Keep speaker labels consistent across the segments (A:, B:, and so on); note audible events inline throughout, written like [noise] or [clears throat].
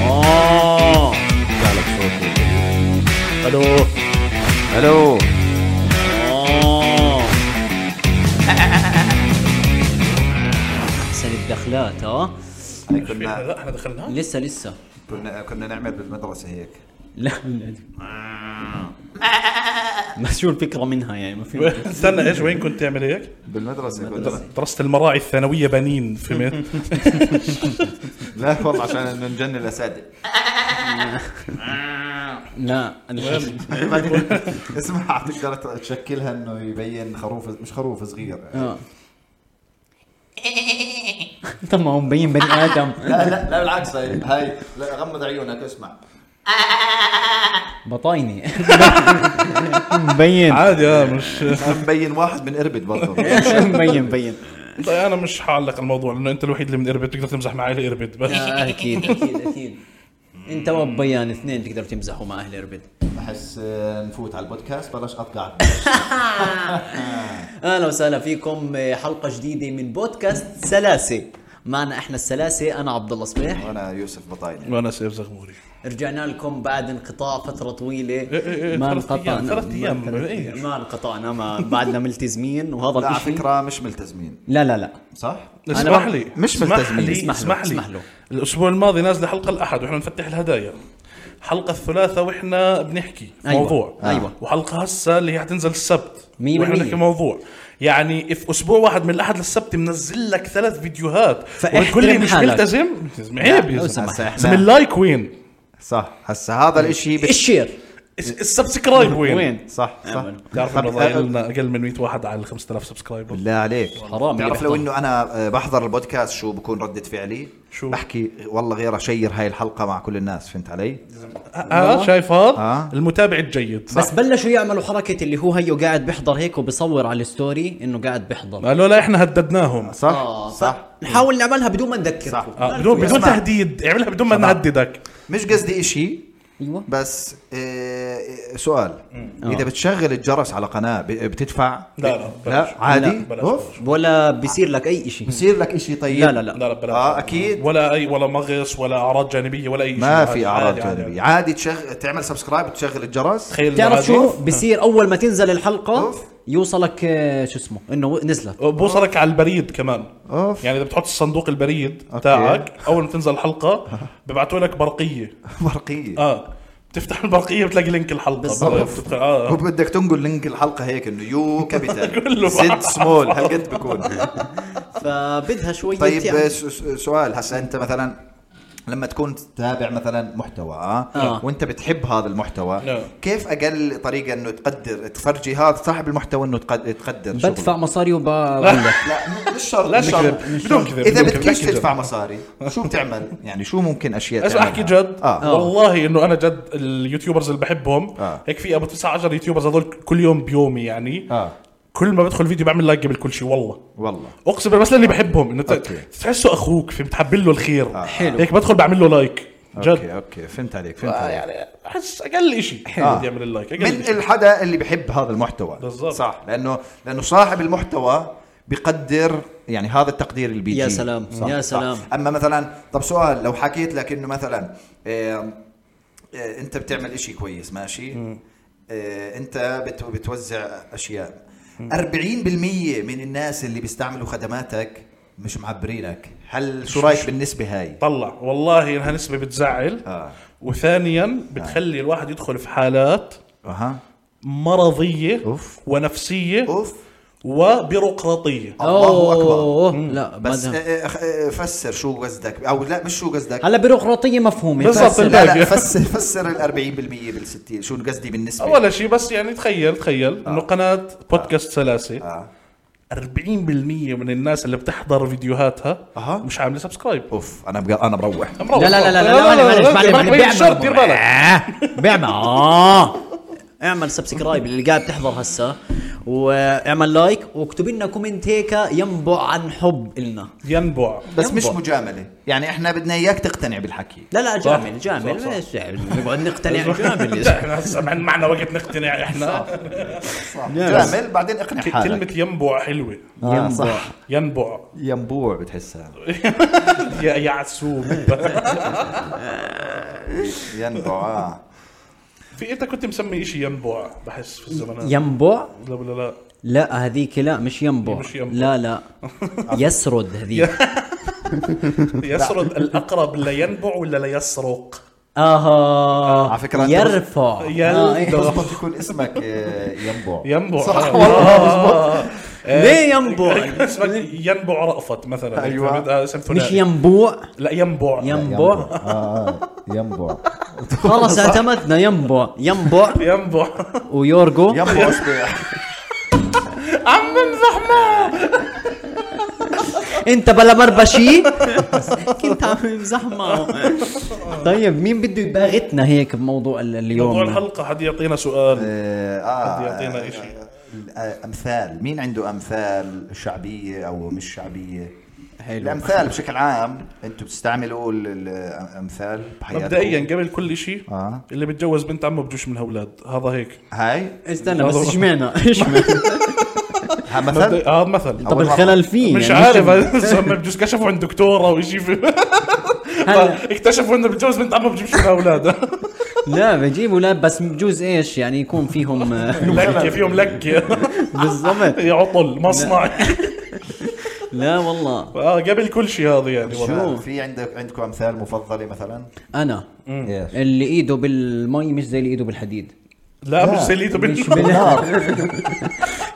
A: آه.
B: الو
C: الو
A: آه. احسن الدخلات اه
C: يعني كنا
B: لا احنا دخلنا
A: لسه لسه
C: كنا كنا نعمل بالمدرسه هيك
A: [laughs] لا بس شو الفكره منها يعني ما في
B: استنى ايش وين كنت تعمل هيك؟
C: بالمدرسه كنا
B: درست المراعي الثانويه بنين فهمت؟
C: لا والله عشان نجن الاساتذه
A: لا [laughs]
C: بعدين [laughs] اسمع بتقدر تشكلها انه يبين خروف مش خروف صغير
A: آه. طب ما هو مبين بني ادم
C: لا لا لا بالعكس هاي هاي لا غمض عيونك اسمع
A: بطايني [laughs] مبين
B: عادي اه مش [laughs]
C: مبين واحد من اربد برضه [laughs]
A: مبين مبين
B: طيب انا مش حعلق الموضوع لانه انت الوحيد اللي من اربد تقدر تمزح مع اهل اربد بس
A: آه، اكيد اكيد اكيد انت وبيان اثنين تقدر تمزحوا مع اهل اربد
C: احس آه، نفوت على البودكاست بلاش اطقعك
A: اهلا وسهلا فيكم حلقه جديده من بودكاست سلاسه معنا احنا السلاسه انا عبد الله صبيح
C: وانا يوسف بطايني
B: وانا سيف زغموري
A: رجعنا لكم بعد انقطاع فتره طويله
B: إيه إيه إيه،
A: ما
B: ثلاث أيام،
A: انقطعنا
B: ثلاث أيام،
A: ما- ثلاث
B: إيه.
A: أيام. ما انقطعنا ما بعدنا ملتزمين وهذا
C: لا على
A: الإشي-
C: فكره مش ملتزمين
A: لا لا لا
C: صح؟
B: اسمح لي
C: مش
B: اسمح
C: ملتزمين.
B: لي
A: اسمح له،
B: اسمح
A: اسمح
B: لي
A: له.
B: الاسبوع الماضي نازله حلقه الاحد واحنا نفتح الهدايا حلقه الثلاثاء واحنا بنحكي في
A: أيوة.
B: موضوع
A: أيوة.
B: وحلقه هسه اللي هي حتنزل السبت
A: مية
B: واحنا
A: بالمية.
B: بنحكي موضوع يعني في اسبوع واحد من الاحد للسبت منزل لك ثلاث فيديوهات
A: فاحترم
B: والكل مش
A: حالك.
B: ملتزم عيب يا
A: لو
B: زلمه
A: سمحت.
C: إحنا-
B: زلمة، اللايك وين؟
C: صح هسا هذا الاشي بت-
A: الشير
B: السبسكرايب وين؟
C: صح صح أه،
A: أمل.
B: بتعرف انه ضايل لنا اقل من 100 واحد على 5000 سبسكرايبر
C: بالله عليك
A: حرام
C: تعرف
A: يقطع.
C: لو انه انا آه، بحضر البودكاست شو بكون ردة فعلي؟
B: شو؟
C: بحكي والله غير اشير هاي الحلقة مع كل الناس فهمت علي؟
B: اه شايف هذا
C: آه.
B: المتابع الجيد
A: بس بلشوا يعملوا حركه اللي هو هيو قاعد بيحضر هيك وبصور على الستوري انه قاعد بيحضر
B: قالوا لا احنا هددناهم
C: صح؟
A: آه،
C: صح
A: نحاول نعملها بدون ما نذكر
C: صح.
B: آه بدون بدون
C: اسمع.
B: تهديد اعملها بدون ما
C: شباب.
B: نهددك
C: مش قصدي اشي
B: أيوة.
A: ايوه
C: بس آه، سؤال اذا
A: آه.
C: بتشغل الجرس على قناة ب- بتدفع؟
B: لا، لا، بلاش.
C: لا عادي؟
A: لا،
B: بلاش،
C: اوف
A: ولا بيصير لك اي شيء
C: بصير لك اشي طيب؟
A: لا لا لا
B: لا لا بلاش
C: اه اكيد
B: ولا اي ولا مغص ولا اعراض جانبيه ولا اي شيء
C: ما في
B: عادي،
C: اعراض
B: عادي، عادي.
C: جانبية عادي تشغل تعمل سبسكرايب وتشغل الجرس [laughs]
B: تخيل
A: بتعرف شو
B: العادي.
A: بصير اول ما تنزل الحلقه
C: أوف.
A: يوصلك آه، شو اسمه انه نزلت
B: بوصلك على البريد كمان
C: أوف.
B: يعني اذا بتحط الصندوق البريد
C: أوكي.
B: تاعك اول ما تنزل الحلقه ببعثوا لك برقيه
C: برقية
B: اه بتفتح البرقيه بتلاقي لينك الحلقه
C: بالضبط.
B: بتدخل- آه. [laughs]
C: هو بدك تنقل لينك الحلقه هيك انه يو
B: كله
C: كابيتال سيد سمول هالقد بكون
A: فبدها شويه
C: طيب
A: يعني.
C: س- س- سؤال هسا انت مثلا لما تكون تتابع مثلا محتوى اه,
A: آه.
C: وانت بتحب هذا المحتوى
B: نعم.
C: كيف اقل طريقه انه تقدر تفرجي هذا صاحب المحتوى انه تقدر, تقدر
A: بدفع
C: شغله؟
A: مصاري وبقول لك
C: لا م- مش شرط
B: لا
C: مش
B: شرط
C: شرط.
B: بدون كذب
C: اذا
B: بدون كذب.
C: بدكش
B: احكي جد.
C: تدفع مصاري شو بتعمل يعني شو ممكن اشياء
B: اسمع احكي
C: تعملها؟
B: جد آه.
C: اه
B: والله انه انا جد اليوتيوبرز اللي بحبهم
C: آه.
B: هيك في ابو 19 يوتيوبرز هذول كل يوم بيومي يعني
C: اه
B: كل ما بدخل فيديو بعمل لايك قبل كل شيء والله
C: والله
B: اقسم بالله بس اللي بحبهم انه ت-
C: أوكي. آه.
B: تحسه اخوك فهمت حبل له الخير
A: حلو.
B: هيك بدخل بعمل له لايك جد
C: اوكي اوكي فهمت عليك فهمت
B: آه،
C: عليك
B: يعني احس اقل شيء
C: آه.
B: بدي يعمل اللايك اقل
C: من
B: شيء
C: الحدا اللي بحب هذا المحتوى
B: إيه بالضبط.
C: صح لانه لانه صاحب المحتوى بقدر يعني هذا التقدير اللي بيجي
A: يا سلام، يا سلام.
C: اما مثلا طب سؤال لو حكيت لك انه مثلا آه آه انت بتعمل إشي كويس ماشي آه انت بت بتوزع اشياء 40% من الناس اللي بيستعملوا خدماتك مش معبرينك هل شو رايك بالنسبه هاي
B: طلع والله انها نسبه بتزعل
C: اه
B: وثانيا
C: آه.
B: بتخلي الواحد يدخل في حالات
C: اها
B: مرضيه
C: أوف. آه.
B: ونفسيه
C: اوف
B: وبيروقراطيه
C: الله اكبر
A: أوه، لا
C: بس
A: بدها.
C: آه، آه، آه، فسر شو قصدك او لا مش شو قصدك
A: هلا بيروقراطيه مفهومه
B: بالضبط.
A: بس-
C: لا
B: باقي.
C: لا فسر فسر ال 40% بال 60 شو قصدي بالنسبه
B: اول شيء بس يعني تخيل تخيل انه قناه بودكاست سلاسه
C: آه.
B: 40% من الناس اللي بتحضر فيديوهاتها
C: أها.
B: مش عامله سبسكرايب
C: اوف انا بقى انا بروح
B: مروح.
A: لا لا لا لا لا معلش معلش
B: لا، لا، لا،
A: معلش
B: شرط دير بالك
A: بيعمل اه اعمل سبسكرايب اللي قاعد تحضر هسه واعمل لايك واكتب لنا كومنت هيك ينبع عن حب النا
B: ينبع
C: بس مش
A: ينبع.
C: مجامله يعني احنا بدنا اياك تقتنع بالحكي
A: لا لا جامل جامل
B: صح،
A: ليش نقعد نقتنع جامل
B: احنا هسه معنا- معنا وقت نقتنع احنا
C: صح
A: نعم.
C: جامل بعدين اقنع
B: ك-
C: حالك
B: كلمة ينبع حلوة
C: آه صح
B: ينبع
C: ينبوع بتحسها
B: يا يعسوب [laughs]
C: ينبوع اه
B: في انت كنت مسمي شيء ينبع بحس في الزمانات
A: ينبع
B: لا ولا لا
A: لا هذيك لا مش ينبع
B: مش ينبع.
A: لا
B: [laughs]
A: لا يسرد هذيك
B: يسرد الاقرب لا ينبع ولا لا يسرق آه،
A: اها
C: على فكرة أنت-
A: يرفع
B: يلا.
A: آه، إيه.
C: بزبط يكون اسمك آه، ينبع
B: ينبع
C: صح
B: آه.
C: والله
B: آه. آه.
A: ليه
B: [laughs]
A: ينبع؟
B: اسمك ينبع رأفت مثلا
C: أيوة.
B: فهمت؟ آه، اسم
A: مش
B: ثنائي.
A: ينبوع
B: لا ينبع
A: ينبع
D: آه، آه،
B: [laughs]
D: ينبع
A: خلص اعتمدنا ينبع ينبع
B: ينبع
A: ويورجو
C: ينبع اشبع
A: انت بلا
B: [laughs]
A: مربشي كنت عم زحمة طيب مين بده يباغتنا هيك بموضوع ال-
B: موضوع
A: اليوم
B: الحلقة حد يعطينا سؤال
C: آه،
B: حد
C: اه
B: يعطينا إشي.
C: آه، امثال مين عنده امثال شعبيه او مش شعبيه
A: حلو.
C: الامثال بشكل عام انتم بتستعملوا ال- الامثال بحياتكم
B: مبدئيا قبل كل شيء
C: آه.
B: اللي بتجوز بنت عمه بجوش منها اولاد هذا هيك
C: هاي
A: استنى بس اشمعنا
B: [laughs]
A: اشمعنا
C: ها مثل
B: مبدئ- اه مثل
A: طب الخلل فيه
B: مش
A: طيب. يعني
B: عارف [laughs] هم بجوز كشفوا عند دكتوره وشي في
A: هلا.
B: [laughs] اكتشفوا انه بتجوز بنت عمه بجوبش منها
A: [laughs]
B: اولاد
A: لا بجيبوا لا بس بجوز ايش يعني يكون فيهم
B: [laughs]
A: آه،
B: لكه فيهم [laughs] لكه
A: بالضبط
B: عطل مصنع
A: لا والله
B: اه قبل كل شيء هذا يعني والله
C: شو في عندك عندكم امثال مفضله مثلا
A: انا
D: إيش؟
A: اللي ايده بالمي مش زي اللي ايده بالحديد
B: لا مش سليته
A: مش
B: بال
A: بالنار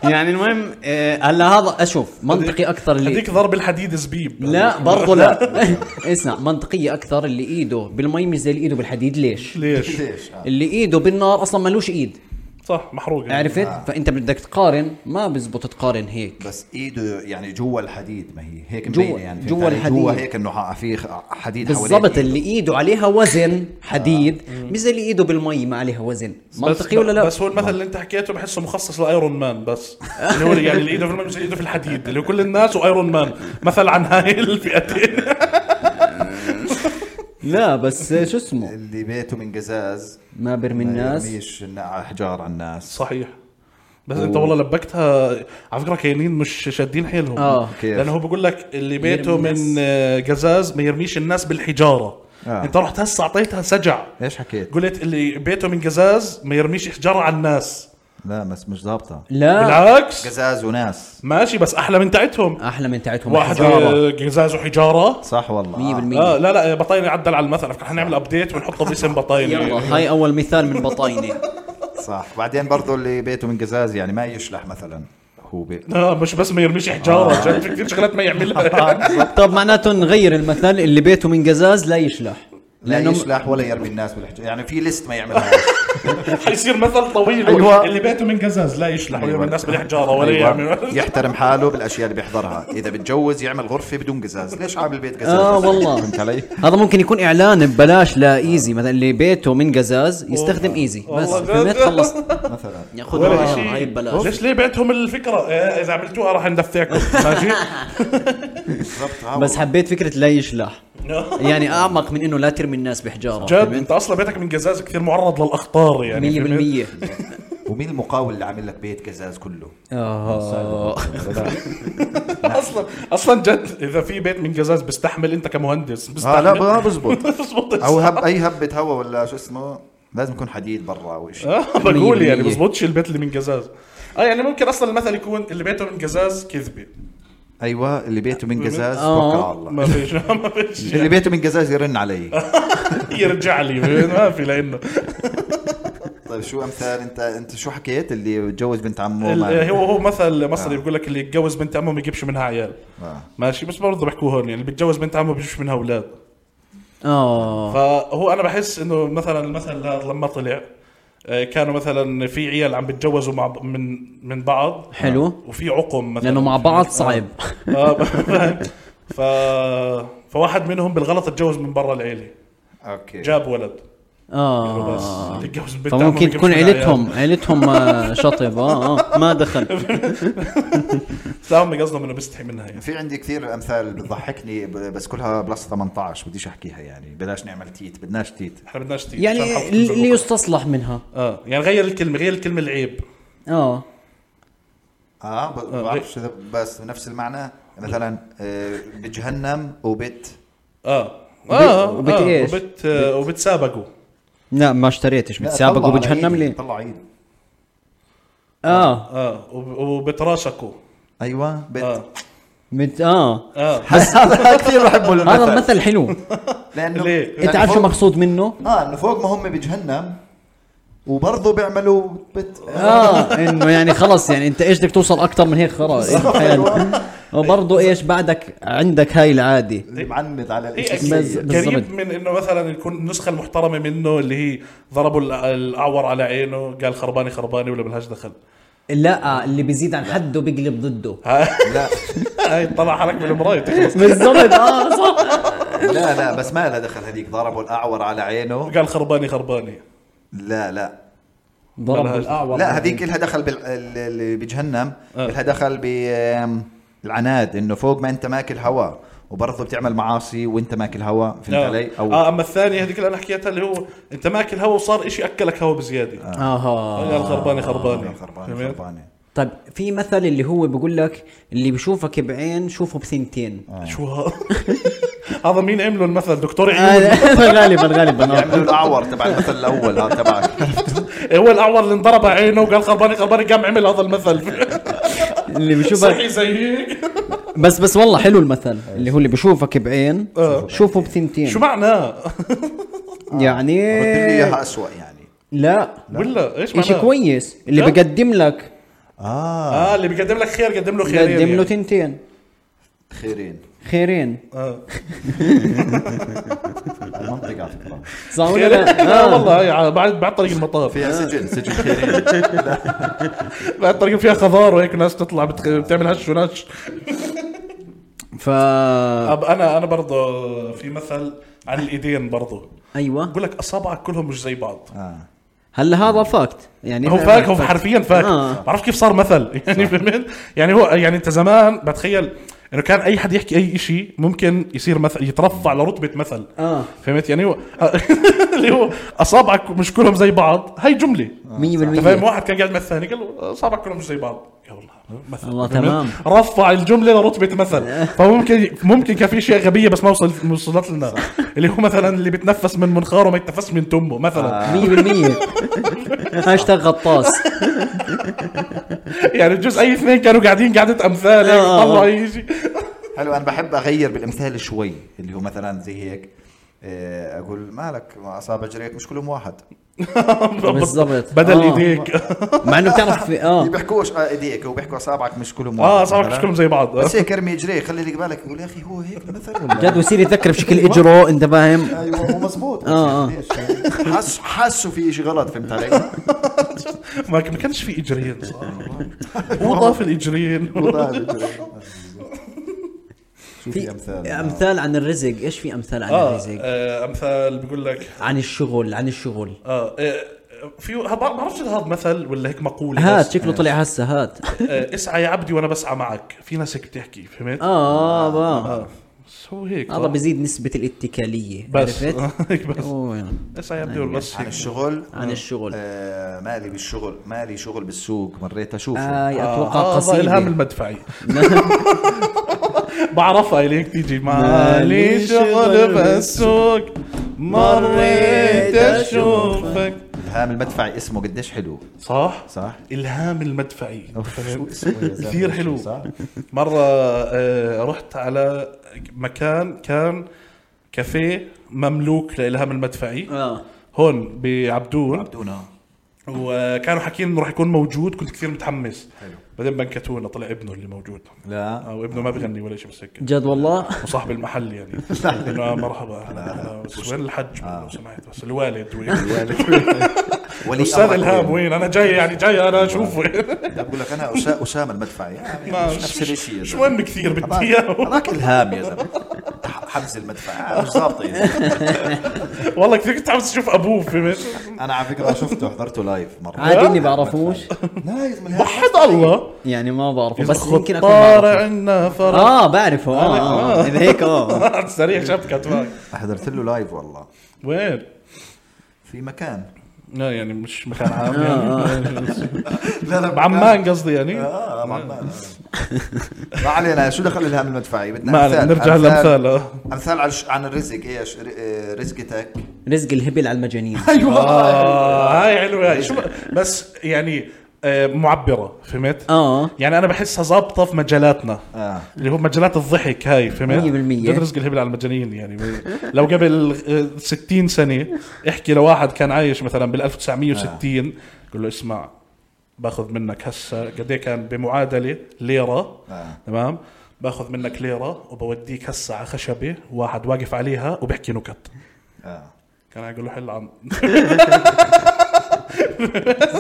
A: يعني المهم آه، هلا هذا اشوف منطقي اكثر اللي
B: هذيك ضرب الحديد زبيب
A: لا برضه لا [laughs] اسمع منطقية أكثر اللي إيده بالمي مش زي اللي إيده بالحديد ليش؟
B: ليش؟
C: ليش آه.
A: اللي إيده بالنار أصلا ملوش إيد
B: صح محروق يعني.
A: عرفت؟ فأنت بدك تقارن ما بزبط تقارن هيك
C: بس ايده يعني جوا الحديد ما هي هيك
A: جوا-
C: مبينه يعني
A: جوا
C: فهمت علي؟
A: الحديد.
C: جوا هيك انه ح- في خ- حديد
A: بالضبط
C: حوالين
A: اللي إيده عليها وزن حديد مش زي اللي إيده بالمي ما عليها وزن منطقي ولا لا؟
B: آه. بس هو المثل اللي انت حكيته بحسه مخصص لايرون مان بس اللي هو يعني اللي ايده في الماء مش ايده في الحديد اللي هو كل الناس وايرون مان مثل عن هاي الفئتين [laughs]
A: لا بس شو اسمه؟
C: اللي بيته من قزاز
A: ما برمي
C: ما
A: الناس
C: يرميش النا- على حجار على الناس
B: صحيح بس انت والله لبكتها على فكره كاينين مش شادين حيلهم
A: آه،
C: كيف؟
B: لانه هو بيقول لك اللي بيته
A: يرمي
B: من
A: الناس.
B: آه، قزاز ما يرميش الناس بالحجاره
C: آه.
B: انت رحت هسه اعطيتها سجع
C: ايش حكيت؟
B: قلت اللي بيته من قزاز ما يرميش حجاره على الناس
C: لا بس مش ضابطه
A: لا
B: بالعكس
C: قزاز وناس
B: ماشي بس احلى من تاعتهم
A: أحلى من تاعتهم
B: واحد
A: الحجارة.
B: آه، قزاز وحجاره
C: صح والله آه.
A: 100%
B: اه لا لا بطاينه عدل على المثل رح نعمل ابديت ونحطه
C: [laughs]
B: باسم
A: يلا
B: بطاينه
A: هاي أول مثال من
B: [laughs]
A: بطاينة
C: صح بعدين برضو اللي بيته من قزاز يعني ما يشلح مثلا هو بي...
B: لا آه، مش بس ما يرميش
C: آه.
B: حجاره جد في كثير شغلات ما
C: [laughs]
B: يعملها
A: طب معناته نغير المثل اللي بيته من قزاز لا يشلح
C: لا
A: لأنه-
C: يشلح ولا يرمي الناس بالحجر يعني في ليست ما
A: [laughs]
C: يعملها
B: حيصير مثل طويل
C: أيوة.
B: اللي بيته من قزاز لا يشلح ولا
C: أيوة.
B: الناس بالحجاره ولا
C: أيوة.
B: يعمل [laughs]
C: يحترم حاله بالاشياء اللي بيحضرها اذا بتجوز يعمل غرفه بدون قزاز ليش عامل بيت قزاز
A: آه، والله.
C: فهمت علي
A: هذا ممكن يكون اعلان ببلاش لايزي مثلا اللي بيته من قزاز يستخدم ايزي بس
B: والله
A: فهمت
B: جد.
A: خلص
C: مثلا
B: ولا
C: آه،
A: ياخذها هاي
B: شيء
A: ببلاش
B: ليش ليه بعتهم الفكره آه، اذا عملتوها راح
C: [laughs]
B: ندفعكم ماشي
C: بالضبط آه،
A: بس
C: والله.
A: حبيت فكره لا يشلح يعني اعمق من انه لا ترمي الناس بحجاره
B: جد
A: فهمت؟
B: انت اصلا بيتك من قزاز كثير معرض للاخطار يعني [laughs] فهمت؟
A: 100%
C: ومين المقاول اللي عامل لك بيت قزاز كله
A: آه.
B: اصلا اصلا جد اذا في بيت من قزاز بيستحمل انت كمهندس
C: اه
B: بستحمل
C: لا ما
B: [laughs]
C: بزبط
B: بزبط
C: او هب اي هبه هوا ولا شو اسمه لازم يكون حديد برا او شيء
B: آه، بقول
A: مية
B: يعني
A: بالمية.
B: بزبطش البيت اللي من قزاز اه يعني ممكن اصلا المثل يكون اللي بيته من قزاز كذبه
C: ايوه اللي بيته من قزاز
A: آه.
C: توكل على الله
B: ما فيش [laughs] ما فيش
C: اللي بيته من قزاز يرن علي
B: يرجع لي ما في لانه
C: طيب شو امثال انت انت شو حكيت اللي بتجوز بنت عمه ما-
B: ال- هو هو مثل
A: آه.
B: مصري بيقول لك اللي يتجوز بنت عمه ما يجيبش منها عيال
C: آه.
B: ماشي بس برضه بحكوا هون يعني اللي بيتجوز بنت عمه ما بيجيبش منها اولاد
A: اه
B: فهو انا بحس انه مثلا المثل هذا لما طلع آه، كانوا مثلا في عيال عم بيتجوزوا مع ب- من من بعض آه،
A: حلو
B: وفي عقم مثلا
A: لانه مع بعض صعب
B: آه، [laughs] ف فواحد منهم بالغلط اتجوز من برا العيله
C: اوكي
B: جاب ولد بس
A: اه
B: تتجوز البنت عمه ما
A: فممكن
B: تجيبش
A: تكون
B: منها
A: عيلتهم عيلتهم آه، شطب اه آه، ما دخل
B: عيال. لا هم قصدهم انه بيستحي منها يعني
C: في عندي كثير امثال بتضحكني ب- بس كلها بلس 18 بديش احكيها يعني بلاش نعمل تيت بدناش تيت
B: احنا بدناش تيجي عشان
A: يعني
B: الحلقة
A: اللي
B: تنزل
A: اللي
B: بكرة.
A: يستصلح منها
B: اه يعني غير الكلمه غير الكلمه العيب
A: اه
C: اه ب-
A: آه، إيه.
C: بعرفش إذا بس نفس المعنى مثلا آه، بجهنم وبت
B: اه آه،
A: وبت- وبت إيش؟
B: وبت, آه، وبتسابقوا
A: لا ما اشتريتش
D: لا،
A: بتسابقوا
D: طلع
A: بجهنم
D: عيد،
A: ليه؟
D: طلع عيد
A: اه
B: اه وب- وبتراشكوا
C: ايوه بت...
A: آه.
C: [laughs]
B: اه
A: مت اه [laughs]
B: اه
C: بس هذا كثير بحبه
A: هذا المثل حلو
C: لانه
B: ليه؟
C: لأنه يعني
A: انت عارف شو
C: فوق-
A: مقصود منه؟
C: اه انه فوق ما هم بجهنم وبرضه بيعملوا آه، بت...
A: اه انه يعني خلص يعني انت ايش بدك توصل اكثر من هيك خلاص [laughs] إيه حياتك. وبرضه ايش بعدك عندك هاي العادي
D: اللي معند على
B: إيه،
D: الاشي
B: أكيد.
A: بس-
D: السيء.
A: بالضبط.
B: قريب من انه مثلا يكون النسخه المحترمه منه اللي هي ضربوا الأ- الاعور على عينه قال خرباني خرباني ولا ملهاش دخل
A: لا اللي بيزيد عن حده بيقلب ضده
C: لا
B: [laughs] هاي طلع حالك من المرايه تخلص
A: بالضبط اه صح
C: لا لا بس ما لها دخل هذيك ضربوا الاعور على عينه
B: قال خرباني خرباني
C: لا لا
A: ضرب
B: ملهاش-
A: الاعور
C: لا هذيك لها دخل بال... ال- اللي بجهنم
B: يعني. آه.
C: لها دخل بالعناد انه فوق ما انت ماكل هوا وبرضه بتعمل معاصي وانت ماكل هوا فهمت
B: آه.
C: علي؟
B: اه اما الثانيه هذيك اللي انا حكيتها اللي هو انت ماكل هوا وصار إشي اكلك هوا بزياده
A: آه. اها
B: قال خرباني خرباني
C: خربانه خربانه
B: فهمت؟
C: خربانه
A: طيب في مثل اللي هو بيقول لك اللي بشوفك بعين شوفه بثنتين
B: شو هذا [laughs] هذا مين عمله المثل دكتور عيون
A: [laughs] آه، غالبا
B: [laughs]
A: غالبا آه.
C: يعملوا الاعور تبع المثل الاول ها تبعك
B: إيه، هو الاعور اللي انضرب عينه وقال خرباني خرباني قام عمل هذا
A: [laughs]
B: المثل
A: اللي بشوفك
B: صحي زي هيك
A: بس بس والله حلو المثل اللي هو اللي بشوفك بعين
B: آه.
A: شوفه بثنتين
B: شو آه. معناه
A: يعني
C: رد لي اياها اسوء يعني
A: لا
B: ولا ايش معناه
A: اشي كويس اللي
B: لا.
A: بقدم لك
C: اه
B: اه اللي بيقدم لك خير قدم له خيرين
A: بقدم له
B: يعني.
A: تنتين
C: خيرين
A: خيرين
B: آه.
C: المنطقه على فكره
A: صح ولا
B: خيرين
A: لا؟
B: [laughs] لا
A: آه.
B: والله هاي بعد بعد طريق المطار
C: فيها سجن سجن خيرين
B: بعد طريق فيها خضار وهيك ناس تطلع بتخ... بتعمل هش ونش
A: ف
B: أب انا انا برضه في مثل عن الايدين برضه
A: ايوه
B: بقول لك اصابعك كلهم مش زي بعض
C: آه.
A: هلا هذا فاكت يعني
B: هو
A: هذا
B: فاك هو حرفيا فاك
A: آه.
B: بعرف كيف صار مثل [laughs] يعني فهمت يعني هو يعني انت زمان بتخيل انه كان اي حد يحكي اي شيء ممكن يصير مثل يترفع لرتبه مثل
A: آه.
B: فهمت يعني هو [laughs] اللي هو اصابعك مش كلهم زي بعض هاي جمله
A: مية
B: أنت
A: بالمية.
B: فاهم واحد كان قاعد مع الثاني قال له اصابعك كلهم مش زي بعض يا والله مثل
A: الله
B: فهمت؟
A: تمام.
B: رفع الجمله لرتبه
A: [laughs]
B: مثل فممكن ممكن كان في شيء غبيه بس ما وصل ما وصلت لنا اللي هو مثلا اللي بتنفس من منخاره ما يتنفس من تمه مثلا [laughs]
A: 100% هاشتاج غطاس
B: [laughs] يعني بجوز اي اثنين كانوا قاعدين قعده امثال هيك
A: آه.
B: طلعوا اي شيء
C: حلو انا بحب اغير بالامثال شوي اللي هو مثلا زي هيك آه، اقول مالك ما اصابع جريك مش كلهم واحد
A: بالضبط.
B: بدل
A: آه.
B: ايديك
A: مع انه بتعرف في-
C: اللي
A: اه
C: بيحكوش آه، ايديك وبيحكوا اصابعك مش كلهم واحد
B: اه صار مش
C: مثلاً.
B: كلهم زي بعض
C: بس هيك ارمي جريك خلي لك بالك يقول يا اخي هو هيك المثل ولا
A: جد بصير يتذكر بشكل اجره انت فاهم
D: ايوه
C: أيوة،
D: هو مزبوط
A: آه، آه.
D: ليش؟
C: حاسس حاسه في شيء غلط فهمت علي؟ [laughs]
B: ما ما كانش في اجرين
A: [laughs]
B: صراحة. هو ضاف الاجرين
C: والله الجريك. شو في امثال
A: امثال عن الرزق ايش في امثال عن
B: اه
A: الرزق
B: آه، امثال بيقول لك
A: عن الشغل عن الشغل
B: اه آه، في ما بعرفش إذا هذا مثل ولا هيك مقوله
A: هات
B: بس.
A: شكله طلع هسه هات
B: آه، اسعى يا عبدي وانا بسعى معك في ناس هيك بتحكي فهمت؟
A: اه آه.
B: آه. بس هو هيك
A: هذا بيزيد نسبة الاتكالية
B: بس آه.
A: عرفت؟
B: [laughs]
A: [laughs]
B: هيك بس
A: أوه، يلا.
B: اسعى يا عبدي وانا بس
C: عن
B: هيك.
C: الشغل
A: عن الشغل
C: آه مالي بالشغل مالي شغل بالسوق مريت اشوفه
A: اي اتوقع
B: آه، هذا الهام
A: قصيدة
B: المدفعي [laughs] بعرفها اللي هيك تيجي مالي شغل بالسوق مريت اشوفك
C: الهام المدفعي اسمه قديش حلو
B: صح؟
C: صح؟
B: الهام المدفعي
C: شو اسمه يا زلمة؟
B: كثير حلو
C: صح؟
B: مره آه، رحت على مكان كان كافيه مملوك لالهام المدفعي
A: اه
B: هون بعبدون
C: بدونه
B: وكانوا حاكيين انه راح يكون موجود كنت كثير متحمس بعدين بنكتونا طلع ابنه اللي موجود
C: لا.
B: او ابنه ما بغني ولا شيء بس هيك
A: جد والله
B: وصاحب المحل [laughs] يعني انه آه، مرحبا أهلا بك. بس وين الحج لو سمحت بس الوالد [laughs] وين
C: [laughs] ولي
B: الاستاذ
C: أمر
B: الهام
C: كبير.
B: وين انا جاي يعني جاي انا اشوفه [laughs]
C: بقول لك انا أسا- اسامه المدفعي يعني
B: ما-
C: مش نفس الشيء يا
B: مش
C: زلمة.
B: مهم كثير بدي
C: هذاك-
B: اياه
C: هذاك الهام يا زلمه حمزه [laughs] المدفعي مش يعني. ظابطه يا زلمة.
B: والله كثير كنت عاوز اشوف ابوه فهمت
C: انا على فكره شفته حضرته لايف مره
A: عادي اني
C: الهام
A: بعرفوش
C: المدفعي. لا يا زلمه الهام
B: وحد الله
A: يعني ما بعرفه بس
B: بس
A: يمكن اكون
B: طار
A: بعرفه.
B: عنا فرح
A: اه بعرفه آه، اه آه. اذا هيك اه
B: سريع شبكة تبعك
C: حضرت له لايف والله
B: وين؟
C: في مكان
B: لا يعني مش مكان عام يعني
C: لا لا
B: [laughs] بعمان قصدي يعني
C: اه بعمان ما علينا شو دخل الهام المدفعي بدنا
B: ما علينا،
C: أمثال،
B: نرجع
C: أمثال-
B: لأمثال، آه.
C: امثال على الش- عن الرزق ايش ر- آه، رزقتك
A: رزق الهبل على
B: [laughs]
A: المجانين
B: آه هاي حلوه هاي شو ب- بس يعني آه، معبره فهمت؟
A: اه
B: يعني انا بحسها ظابطه في مجالاتنا
C: آه.
B: اللي هو مجالات الضحك هاي فهمت؟
A: 100%
B: جد رزق الهبل على المجانين يعني لو قبل آه، 60 سنه احكي لواحد كان عايش مثلا بال 1960 قول له اسمع باخذ منك هسه قد ايه كان بمعادله ليره
C: آه.
B: تمام؟ باخذ منك ليره وبوديك هسه على خشبه واحد واقف عليها وبحكي نكت
C: آه.
B: كان يقول له حل عم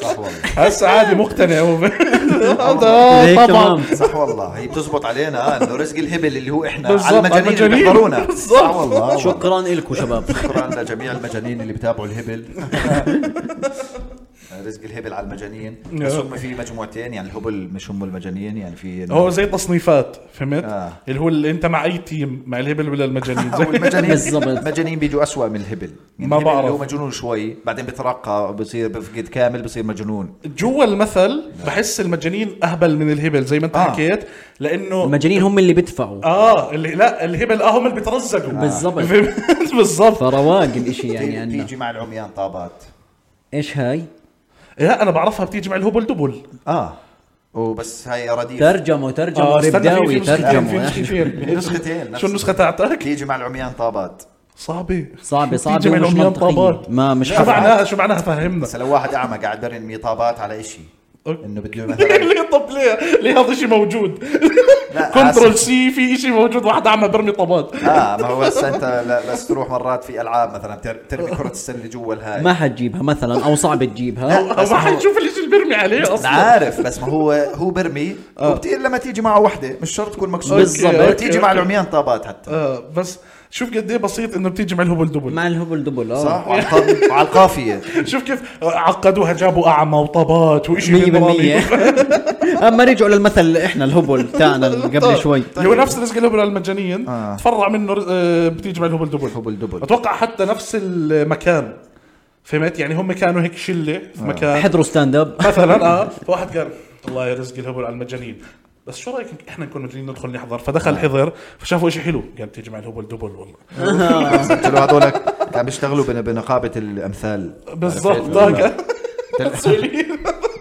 C: صح والله
B: هسه عادي مقتنع
C: [laughs]
B: هو
A: ليك
B: هذا طبعا
A: تمام.
C: صح والله هي بتزبط علينا آه، انه رزق الهبل اللي هو احنا
B: بالضبط،
C: على المجانين اللي
B: المجانين.
C: بيحضرونا
B: بالضبط.
C: صح والله
A: شكرا لكم شباب
C: شكرا لجميع المجانين اللي بتابعوا الهبل [laughs] رزق الهبل على المجانين
B: نعم.
C: بس هم في مجموعتين يعني الهبل مش هم المجانين يعني في إنه-
B: هو زي تصنيفات فهمت؟
C: آه.
B: اللي هو اللي انت مع اي تيم مع الهبل ولا
C: [laughs]
B: المجانين
C: أو
B: زي
C: المجانين
A: بالضبط.
C: المجانين بيجوا أسوأ من الهبل يعني
B: ما
C: الهبل
B: بعرف.
C: هو مجنون شوي بعدين بترقى بصير بفقد كامل بصير مجنون
B: جوا المثل بحس المجانين اهبل من الهبل زي ما انت
C: آه.
B: حكيت لانه
A: المجانين هم اللي بيدفعوا
B: اه اللي لا الهبل اه هم اللي بيترزقوا
A: بالضبط.
B: [laughs] فهمت؟ بالضبط
A: فرواق الاشي يعني
C: يعني
A: عنا
C: تيجي مع العميان طابات
A: ايش هاي؟
B: لا انا بعرفها بتيجي مع الهبل دبل
C: اه وبس هاي اراضيف
A: ترجموا ترجموا
B: آه، استنى في-
A: ربداوي
B: في نسختين في
A: ترجموا
C: [laughs]
A: يا أخي.
B: نسختين
C: نسختين، نفس-
B: شو النسخه تاعتك؟
C: تيجي مع العميان طابات
B: صعبه
A: صعبة صعبة
B: بتيجي مع
A: ومش
B: العميان
A: منطقية
B: طابات.
A: ما مش
B: شو
A: حفظ.
B: معناها شو معناها فهمنا
C: بس لو واحد اعمى قاعد برمي طابات على إشي
B: أوكي.
C: انه بده
B: [laughs]
C: مثلا
B: ليه طب ليه؟ ليه هذا الشيء موجود؟
C: لا،
B: كنترول
C: آسف.
B: سي في شيء موجود واحد عم برمي طابات
C: اه ما هو بس انت لا- بس تروح مرات في العاب مثلا بتر- ترمي كره السله جوا الهاي
A: ما حتجيبها مثلا او صعب تجيبها
B: ما حنشوف الشيء اللي برمي عليه
C: انا
B: اصلا
C: عارف بس ما هو هو برمي وبتقل لما تيجي معه وحده مش شرط تكون مكسور
A: بالضبط.
C: لما
B: أوكي،
C: تيجي مع
B: أوكي.
C: العميان طابات حتى
B: آه بس شوف قد ايه بسيط انه بتيجي مع الهبل دبل
A: مع الهبل دبل اه
C: صح وعلى الق- وعلى القافيه
B: شوف كيف عقدوها جابوا اعمى وطابات وشيء
A: [laughs] 100% اما رجعوا للمثل احنا الهبل تاعنا اللي قبل شوي
B: اللي [laughs] طيب. هو نفس رزق الهبل على المجانين
C: آه.
B: تفرع منه رز- آه، بتيجي مع الهبل دبل
C: هبل دبل.
B: اتوقع حتى نفس المكان فهمت يعني هم كانوا هيك شله في مكان
A: حضروا ستاند اب
B: مثلا اه فواحد قال الله يا رزق الهبل على المجانين بس شو رايك احنا نكون مجانين ندخل نحضر فدخل
C: آه.
B: حضر فشافوا شيء حلو قال تجمع الهبل دبل والله
C: [laughs] قلت له هذول كانوا بيشتغلوا بن- بنقابه الامثال
B: [laughs] بالضبط طيب.
C: عرفت؟ [laughs]
B: ضاقة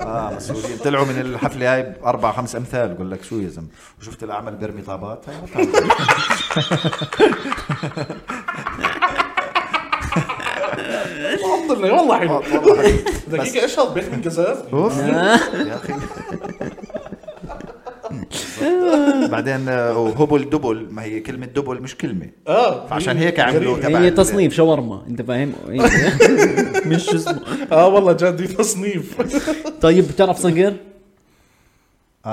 C: اه مسؤولين طلعوا من الحفله هاي باربع خمس امثال بقول لك شو يا زلمه وشفت الاعمال برمي طابات طيب، هاي بطل.
B: [laughs] والله والله حلو
C: والله حلو.
B: دقيقة ايش هذا بيت من
C: [laughs]
B: قزاز؟
C: اوف طيب،
B: آه.
C: يا اخي بعدين آه، وهبل دبل ما هي كلمه دبل مش كلمه
B: اه
C: فعشان هيك عملوا
B: [laughs] غريب.
C: تبع
A: هي
C: ال-
A: تصنيف شاورما انت فاهم [laughs] مش شو اسمه
B: اه والله جد في
C: [laughs]
B: تصنيف
A: طيب بتعرف صقر
B: [laughs]
C: اه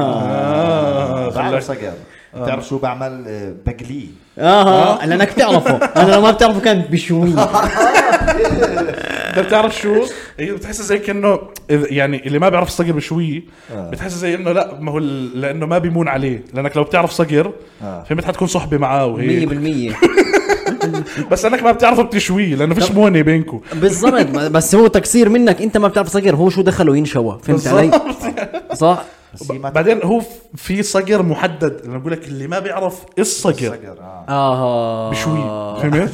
B: اه
C: بعرف
B: خلاك
C: صقر بتعرف شو بعمل آه، بقليه
B: آه.
A: اه لانك بتعرفه انا لو ما بتعرفه كان
B: [laughs]
A: بشوي
B: إيه. انت بتعرف طيب، شو؟ هي بتحس زي كانه إذا- يعني اللي ما بيعرف الصقر بشويه
C: آه.
B: بتحس زي انه لا ما هو ال- لانه ما بيمون عليه لانك لو بتعرف صقر
C: آه.
B: فهمت حتكون صحبة معاه وهي
A: 100%
B: بس انك ما بتعرفه بتشويه لانه فيش مونه بينكم
A: بالضبط بس هو تقصير منك انت ما بتعرف صقر هو شو دخله ينشوى فهمت علي صح
C: بس هي ما
B: بعدين هو في صقر محدد انا بقول لك اللي ما بيعرف الصقر
C: صقر آه.
A: اه
B: بشوي
A: [laughs]
B: فهمت؟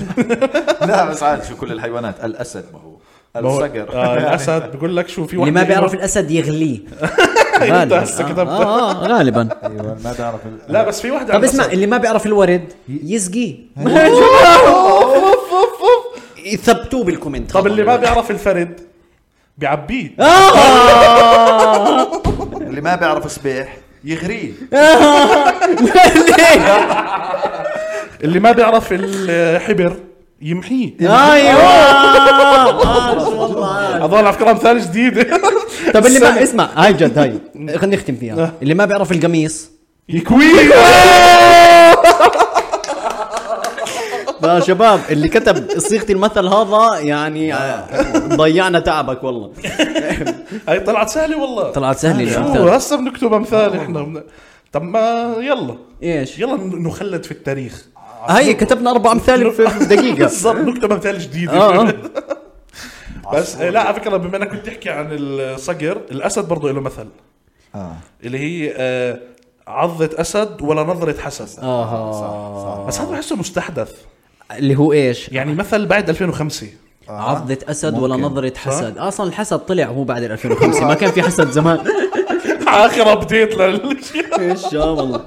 C: لا بس عاد شو كل الحيوانات الاسد ما هو
B: ما هو- آه،
C: الصقر [laughs]
B: الاسد بقول لك شو في
A: اللي
B: واحد إيه،
A: ما بيعرف الاسد
B: [laughs]
A: يغليه
B: انت
A: غالبا
B: هسه
A: آه،
B: كتبت
A: آه، آه،
B: [laughs]
A: غالبا
D: ايوه
C: أيوة،
D: ما بعرف ال-
B: لا بس في واحد
A: طب
B: عن
A: اسمع
B: الأسد.
A: اللي ما بيعرف الورد
B: [laughs]
A: يسقيه ثبتوه بالكومنت آه،
B: طب اللي ما بيعرف الفرد بيعبيه
A: [laughs]
C: اللي ما بيعرف صبيح يغريه
B: [laughs]
A: أيوة.
B: اللي ما بيعرف الحبر
A: [laughs]
B: يمحيه
A: آه، ايوه
B: اظن على فكره امثال جديده
A: [laughs] طب اللي
B: [laughs]
A: ما اسمع هاي جد هاي خلينا نختم
B: آه.
A: فيها اللي ما بيعرف
B: [laughs]
A: القميص [laughs]
B: يكويه
A: يا شباب اللي كتب صيغه المثل هذا يعني
B: آه.
A: ضيعنا تعبك والله
B: هاي طلعت سهله والله
A: طلعت سهله
B: شو
A: الامثال
B: هسه بنكتب امثال احنا بن- طب ما يلا
A: ايش
B: يلا نخلد في التاريخ [laughs]
A: هاي كتبنا اربع امثال في في دقيقه
C: آه.
B: بالضبط نكتب امثال جديده
A: آه، آه.
B: [laughs] بس آه، لا على فكره بما انك كنت تحكي عن الصقر الاسد برضه له مثل
D: اه
B: اللي هي آه، عضة اسد ولا نظرة حسد
A: آه.
C: آه،
A: اها
B: بس هذا بحسه مستحدث
A: [laughs] اللي هو ايش؟
B: يعني مثل بعد 2005
A: [laughs]
C: آه.
A: عضة اسد ولا
D: ممكن.
A: نظرة حسد اصلا الحسد طلع هو بعد 2005 ما كان في حسد زمان
C: [laughs]
B: اخر ابديت للشيء
A: ايش يا والله
B: [laughs]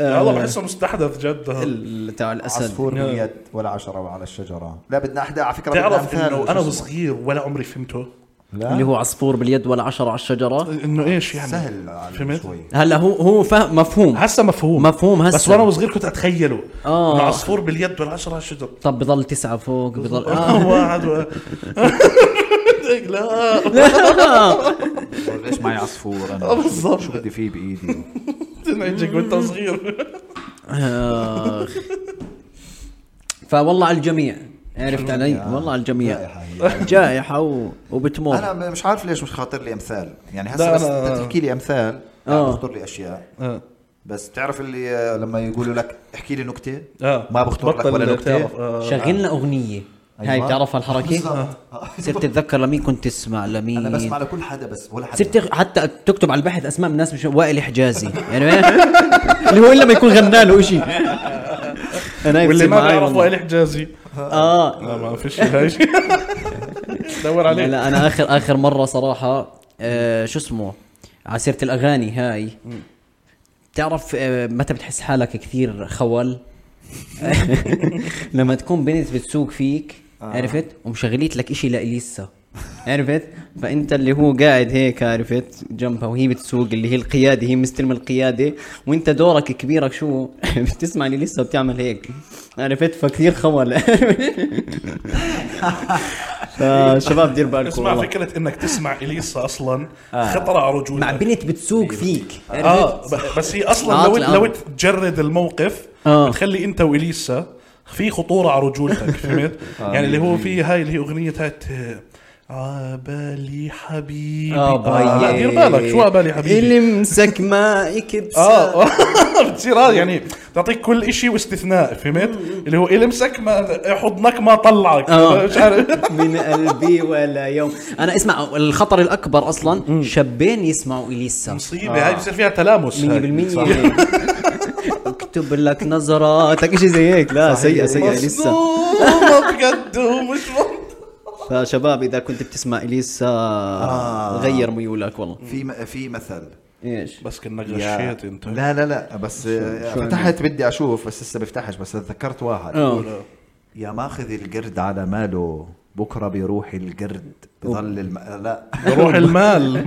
B: والله بحسه مستحدث جد
A: آه. ال- تاع الاسد
D: عصفور باليد ولا عشرة على الشجرة
C: لا بدنا احدى على فكره بدنا
B: تعرف
C: أمثال
B: انه
C: وشو
B: انا
C: اسمه.
B: وصغير ولا عمري فهمته
D: لا
A: اللي هو عصفور باليد ولا عشرة على الشجرة
B: انه ايش يعني
C: سهل على
B: فهمت
C: شوي
A: هلا هو هو فهم مفهوم
B: هسه مفهوم
A: مفهوم هسه.
B: بس وانا وصغير كنت اتخيله
A: آه.
B: إنه عصفور باليد والعشرة على الشجر
A: طب بضل تسعة فوق بضل آه.
B: [laughs] واحد
A: [laughs]
B: و- لا
C: بقول ليش معي عصفور [laughs] انا
B: بالضبط.
C: شو بدي فيه [laughs] بايدي
B: [laughs] تنعجك وانت
A: [laughs]
B: صغير
A: آخ. فوالله على الجميع عرفت علي والله على الجميع
D: رائحة هي.
C: يعني.
A: جائحة و... وبتموت
C: انا مش عارف ليش مش خاطر لي امثال يعني
B: لا،
C: هسه بس
B: أنا-
C: انت تحكي لي امثال
A: آه.
C: بخطر لي اشياء
B: آه.
C: بس بتعرف اللي آه، لما يقولوا لك احكي لي نكته
B: آه.
C: ما بخطر لك
B: بطل
C: ولا نكته
B: تعرف، آه.
A: شغلنا أغنية هاي
C: أيوة.
A: بتعرفها الحركة
C: بالضبط. آه. [laughs]
A: صرت تتذكر لمين كنت تسمع لمين
C: انا بسمع لكل حدا بس ولا حدا
A: صرت حتى تكتب على البحث اسماء من ناس مش وائل حجازي يعني
B: [laughs]
A: اللي هو الا ما يكون غنى له شيء انا
B: واللي ما بيعرف وائل حجازي
A: اه
B: لا ما فيش هاي [laughs] شيء دور
A: لا,
B: عليه
A: لا انا اخر اخر مره صراحه آه شو اسمه على سيره الاغاني هاي بتعرف آه متى بتحس حالك كثير خول [laughs] لما تكون بنت بتسوق فيك عرفت ومشغليت لك اشي لإليسا عرفت فانت اللي هو قاعد هيك عرفت جنبها وهي بتسوق اللي هي القياده هي مستلمه القياده وانت دورك كبيرك شو [laughs] بتسمع لي لسه بتعمل هيك عرفت فكثير خول [laughs] فشباب دير بالكم
B: اسمع
A: والله آه.
B: فكرة انك تسمع اليسا اصلا خطرة على
A: مع
B: رجولك
A: بنت بتسوق فيك عرفت
B: اه ب- بس هي اصلا
A: آه،
B: لو
A: طلع.
B: لو تجرد الموقف
A: آه.
B: بتخلي انت واليسا في خطورة على
A: [laughs]
B: رجولتك فهمت؟
A: آه.
B: يعني اللي هو في هاي اللي هي اغنية هات عبالي حبيبي آه، لا دير بالك شو عبالي حبيبي
A: المسك مايك بسا-
C: [laughs]
B: اه بتصير هذا يعني تعطيك كل شيء واستثناء فهمت؟ اللي هو المسك ما حضنك ما طلعك
A: آه.
B: [laughs] مش عارف
A: [laughs] من قلبي ولا يوم انا اسمع الخطر الاكبر اصلا شابين يسمعوا اليسا 100%
B: مصيبه
C: آه.
B: هاي بصير فيها تلامس هاي.
A: [laughs] اكتب لك نظراتك شيء زي هيك لا سيئه سيئه اليسا
B: مصدومة بجد ومش منطق.
A: فشباب اذا كنت بتسمع اليسا
B: آه.
A: غير ميولك والله
C: في م- في مثل
A: ايش
B: بس كانك
C: يا-
B: غشيت انت
C: لا لا لا بس آه، فتحت بدي اشوف بس لسه بفتحش بس تذكرت واحد
A: آه.
C: يا ماخذ القرد على ماله بكره بيروح القرد بضل الم... لا [laughs]
B: روح المال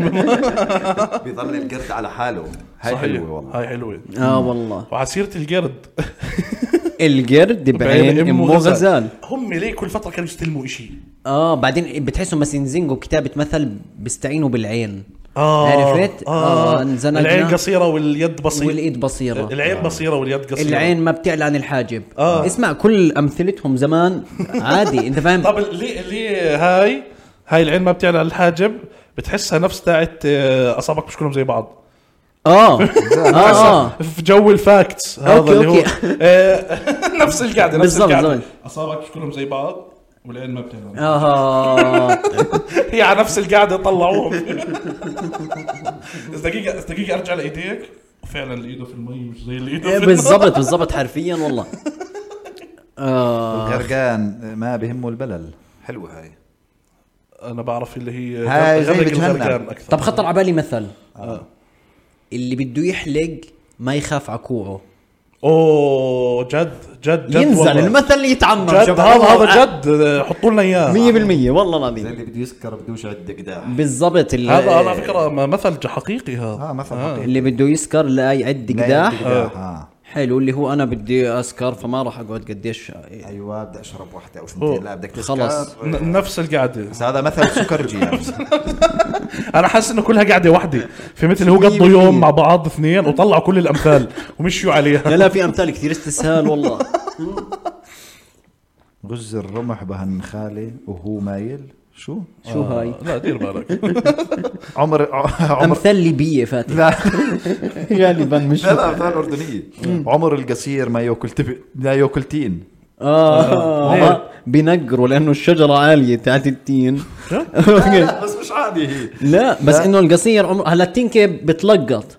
C: بضل القرد على حاله هاي
B: صحيح.
C: حلوه والله
B: هاي حلوه
A: اه والله
B: وعسيرة القرد
A: القرد بعين امه غزال
B: هم ليه كل فتره كانوا يستلموا شيء
A: اه بعدين بتحسوا ماسنزينجو كتابة مثل بيستعينوا بالعين
B: اه
A: عرفت؟
B: اه
A: آه، انزنقنا.
B: العين قصيره واليد بسيطه
A: والايد بصيرة
C: آه.
B: العين بصيره واليد قصيره
A: العين ما بتعلى عن الحاجب
B: آه.
A: آه. اسمع كل امثلتهم زمان
B: [laughs]
A: عادي انت فاهم
B: طب ليه ليه هاي هاي العين ما بتعلى على الحاجب بتحسها نفس تاعت آه، اصابعك مش كلهم زي بعض
A: اه اه
B: في جو الفاكتس هذا
A: أوكي،
B: اللي هو
A: أوكي.
B: [laughs] آه، نفس القعده نفس
A: بالضبط،
B: القعده
A: بالضبط. آه.
B: اصابعك مش كلهم زي بعض والعين ما بتعلى [laughs]
A: اه
B: هي على نفس القعده طلعوهم [laughs] بس دقيقه بس دقيقه ارجع لايديك وفعلا الايده في المي مش زي الايده
A: إيه،
B: في
A: بالضبط بالضبط حرفيا والله اه
C: غرقان ما بهمه البلل حلوه هاي
B: انا بعرف اللي هي
C: هاي زي
B: غرق
C: بجهنم.
B: الغرقان اكثر
A: طب خطر على بالي مثل
B: آه.
A: اللي بده يحلق ما يخاف عكوعه
B: اوه جد جد جد
A: ينزل
B: والله.
A: المثل يتعمم
B: جد هذا هذا جد آه، حطوا لنا اياه
A: 100% والله
C: زي
A: العظيم
C: اللي بده يسكر بدوش عد قداح
A: بالضبط اللي-
B: هذا هذا على فكره م- مثل ج- حقيقي هذا
C: اه مثل حقيقي.
A: اللي بده يسكر لا يعد آه.
C: لا
A: قداح
C: يعد قداح اه
A: حلو اللي هو انا بدي اسكر فما راح اقعد قديش
C: ايوه بدي اشرب واحده او
B: أوه.
C: شنتين لا بدك تسكر
A: خلص.
B: ن- نفس القعده
C: بس هذا مثل سكرجي يعني.
B: انا حاسس انه كلها قاعده وحده فهمت اللي هو قضوا يوم مع بعض اثنين وطلعوا كل الامثال ومشوا عليها
A: لا لا في امثال كثير استسهال والله
C: [laughs]
B: آه.
C: غز الرمح بهالنخاله وهو مايل شو؟
A: شو هاي
B: لا دير بالك
C: عمر
A: [laughs]
C: عمر
A: امثال ليبيه
C: [laughs]
A: فاتح
C: لا
A: غالبا مش
C: لا لا مثال اردنيه عمر القصير ما ياكل تب... لا ياكل تين
A: اه
C: عمر
A: بنقروا لانه الشجره عاليه تاعت التين
C: لا بس مش عادي هي
A: [laughs] لا بس انه القصير عمره هلا التنكه بتلقط